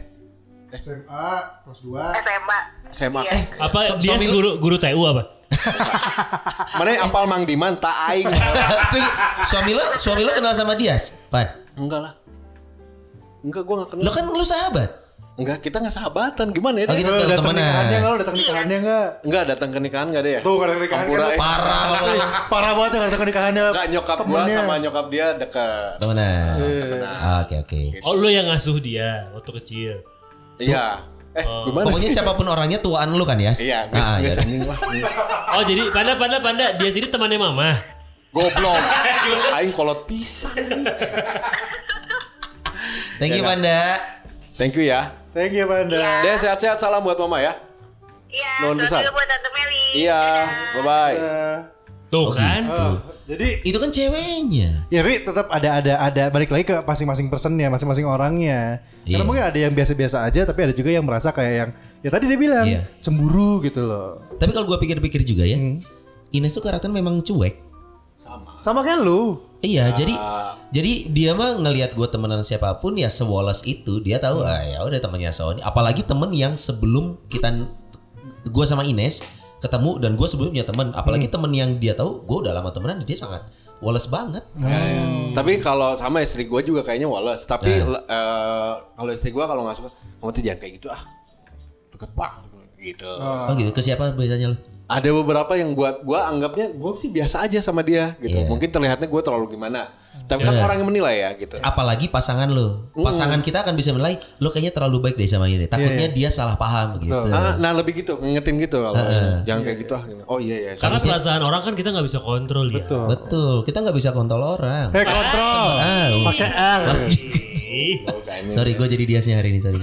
B: SMA kelas 2.
F: SMA.
C: SMA.
F: Iya.
C: Eh,
D: apa
A: So-
D: dia
A: suami lu-
D: guru guru TU apa
C: mana yang apal Mang Diman tak aing.
A: Tuh, suami lo, suami lo kenal sama dia, Pan.
C: Enggak lah. Enggak gue gak kenal.
A: Lo kan lo sahabat.
C: Enggak, kita gak sahabatan. Gimana ya?
A: Oh,
C: deh?
A: gitu.
B: Lu Eh, datang
A: Temenan.
B: nikahannya enggak? Lu datang nikahannya enggak?
C: Enggak datang ke nikahan gak deh ya?
B: Tuh, nggak ada nikahan
C: Ampura,
B: kan?
C: eh.
A: Parah lo.
B: Parah banget enggak datang nikahannya.
C: Enggak nyokap gue
B: Temennya.
C: sama nyokap dia dekat.
A: Temenan.
C: Eh.
A: Oke oke.
D: oh lu yang ngasuh dia waktu kecil
C: Iya. Eh, gimana
A: Oh, Pokoknya
C: sih?
A: siapapun orangnya tuaan lu kan ya.
C: Iya, gue
A: Ah,
C: gue
A: iya.
C: seneng lah.
D: oh jadi panda panda panda dia sini temannya mama
C: Goblok. Aing kolot pisang.
A: Thank
C: Iya,
A: you Panda.
C: Thank you ya.
B: Thank you, Panda.
C: Deh sehat-sehat salam buat mama ya. Iya.
F: Iya,
C: Nuhun
F: selamat
C: pisan.
F: juga buat Tante Meli.
C: Iya. Bye bye.
B: Dadah.
D: Tuh
A: Oh,
D: kan.
B: Eh, jadi
A: Itu kan ceweknya.
B: Ya tapi tetap ada ada ada balik lagi ke masing-masing personnya, masing-masing orangnya. Karena
A: Iya.
B: mungkin ada yang biasa-biasa aja, tapi ada juga yang merasa kayak yang ya tadi dia bilang
A: Iya.
B: cemburu gitu loh.
A: Tapi kalau gue pikir-pikir juga ya,
C: Hmm.
A: Ines tuh karakter memang cuek.
B: Sama kayak lu.
A: Iya,
C: Ah.
A: jadi jadi dia mah ngelihat gue temenan siapapun ya sewoles itu dia
C: Hmm.
A: tahu ah ya udah temannya Sony. Apalagi temen yang sebelum kita gue sama Ines ketemu dan gue sebelumnya temen. Apalagi
C: Hmm.
A: temen yang dia tahu gue udah lama temenan dia sangat woles banget.
C: Tapi kalau sama istri gue juga kayaknya Wallace. Tapi le- eh, kalau istri gue kalau nggak suka, kamu tuh jangan kayak gitu ah, deket banget gitu.
A: Oh gitu ke siapa biasanya lo?
C: Ada beberapa yang buat gue anggapnya gue sih biasa aja sama dia
A: Iya.
C: gitu. Mungkin terlihatnya gue terlalu gimana. Tapi kan orang yang menilai ya gitu.
A: Apalagi pasangan lo.
C: Uh.
A: Pasangan kita akan bisa menilai lo kayaknya terlalu baik deh sama ini. Takutnya dia salah paham gitu.
C: Iya, Ah, nah lebih gitu, ngingetin gitu kalau jangan kayak gitu ah. gini. Oh iya iya.
D: Karena perasaan orang kan kita nggak bisa kontrol ya. Betul.
A: Betul, kita nggak bisa kontrol orang.
B: Eh kontrol.
A: Ah,
B: Pakai R.
A: sorry, gue jadi diasnya hari ini. Sorry.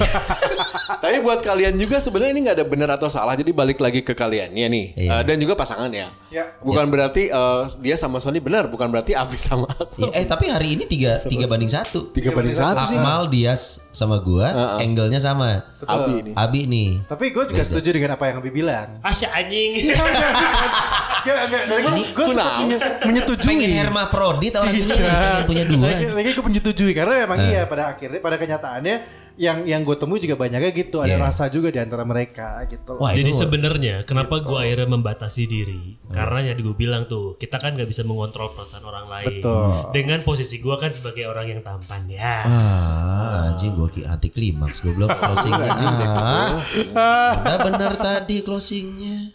C: Tapi buat kalian juga sebenarnya ini nggak ada benar atau salah. Jadi balik lagi ke kaliannya nih
A: Iya.
C: Eh, dan juga pasangannya.
B: Ya.
C: Bukan berarti eh, dia sama Sony benar, bukan berarti Abi sama aku.
A: Ya, eh tapi hari ini tiga tiga banding satu.
C: Tiga banding satu sih.
A: Akmal Dias sama gua, angle-nya sama.
C: Abi ini.
A: Abi nih.
B: Tapi gue juga setuju dengan apa yang Abi bilang.
D: Asya anjing.
B: Enggak, enggak. Gue
C: Kenapa?
B: menyetujui.
A: Pengen hermafrodit orang ini pengen Ah. punya dua.
B: lagi, lagi gue menyetujui karena memang iya pada akhirnya pada kenyataannya yang yang gue temui juga banyaknya gitu ada rasa juga di antara mereka gitu
A: Iya.
B: loh.
A: Wah,
D: Jadi
A: itu
D: sebenarnya kenapa gua akhirnya membatasi diri? Karena yang gue bilang tuh, kita kan nggak bisa mengontrol perasaan orang lain.
B: Betul.
D: Dengan posisi gua kan sebagai orang yang tampan ya.
A: Ah, anjing gua ki anti klimaks goblok closingnya. Ah, nggak bener tadi closingnya.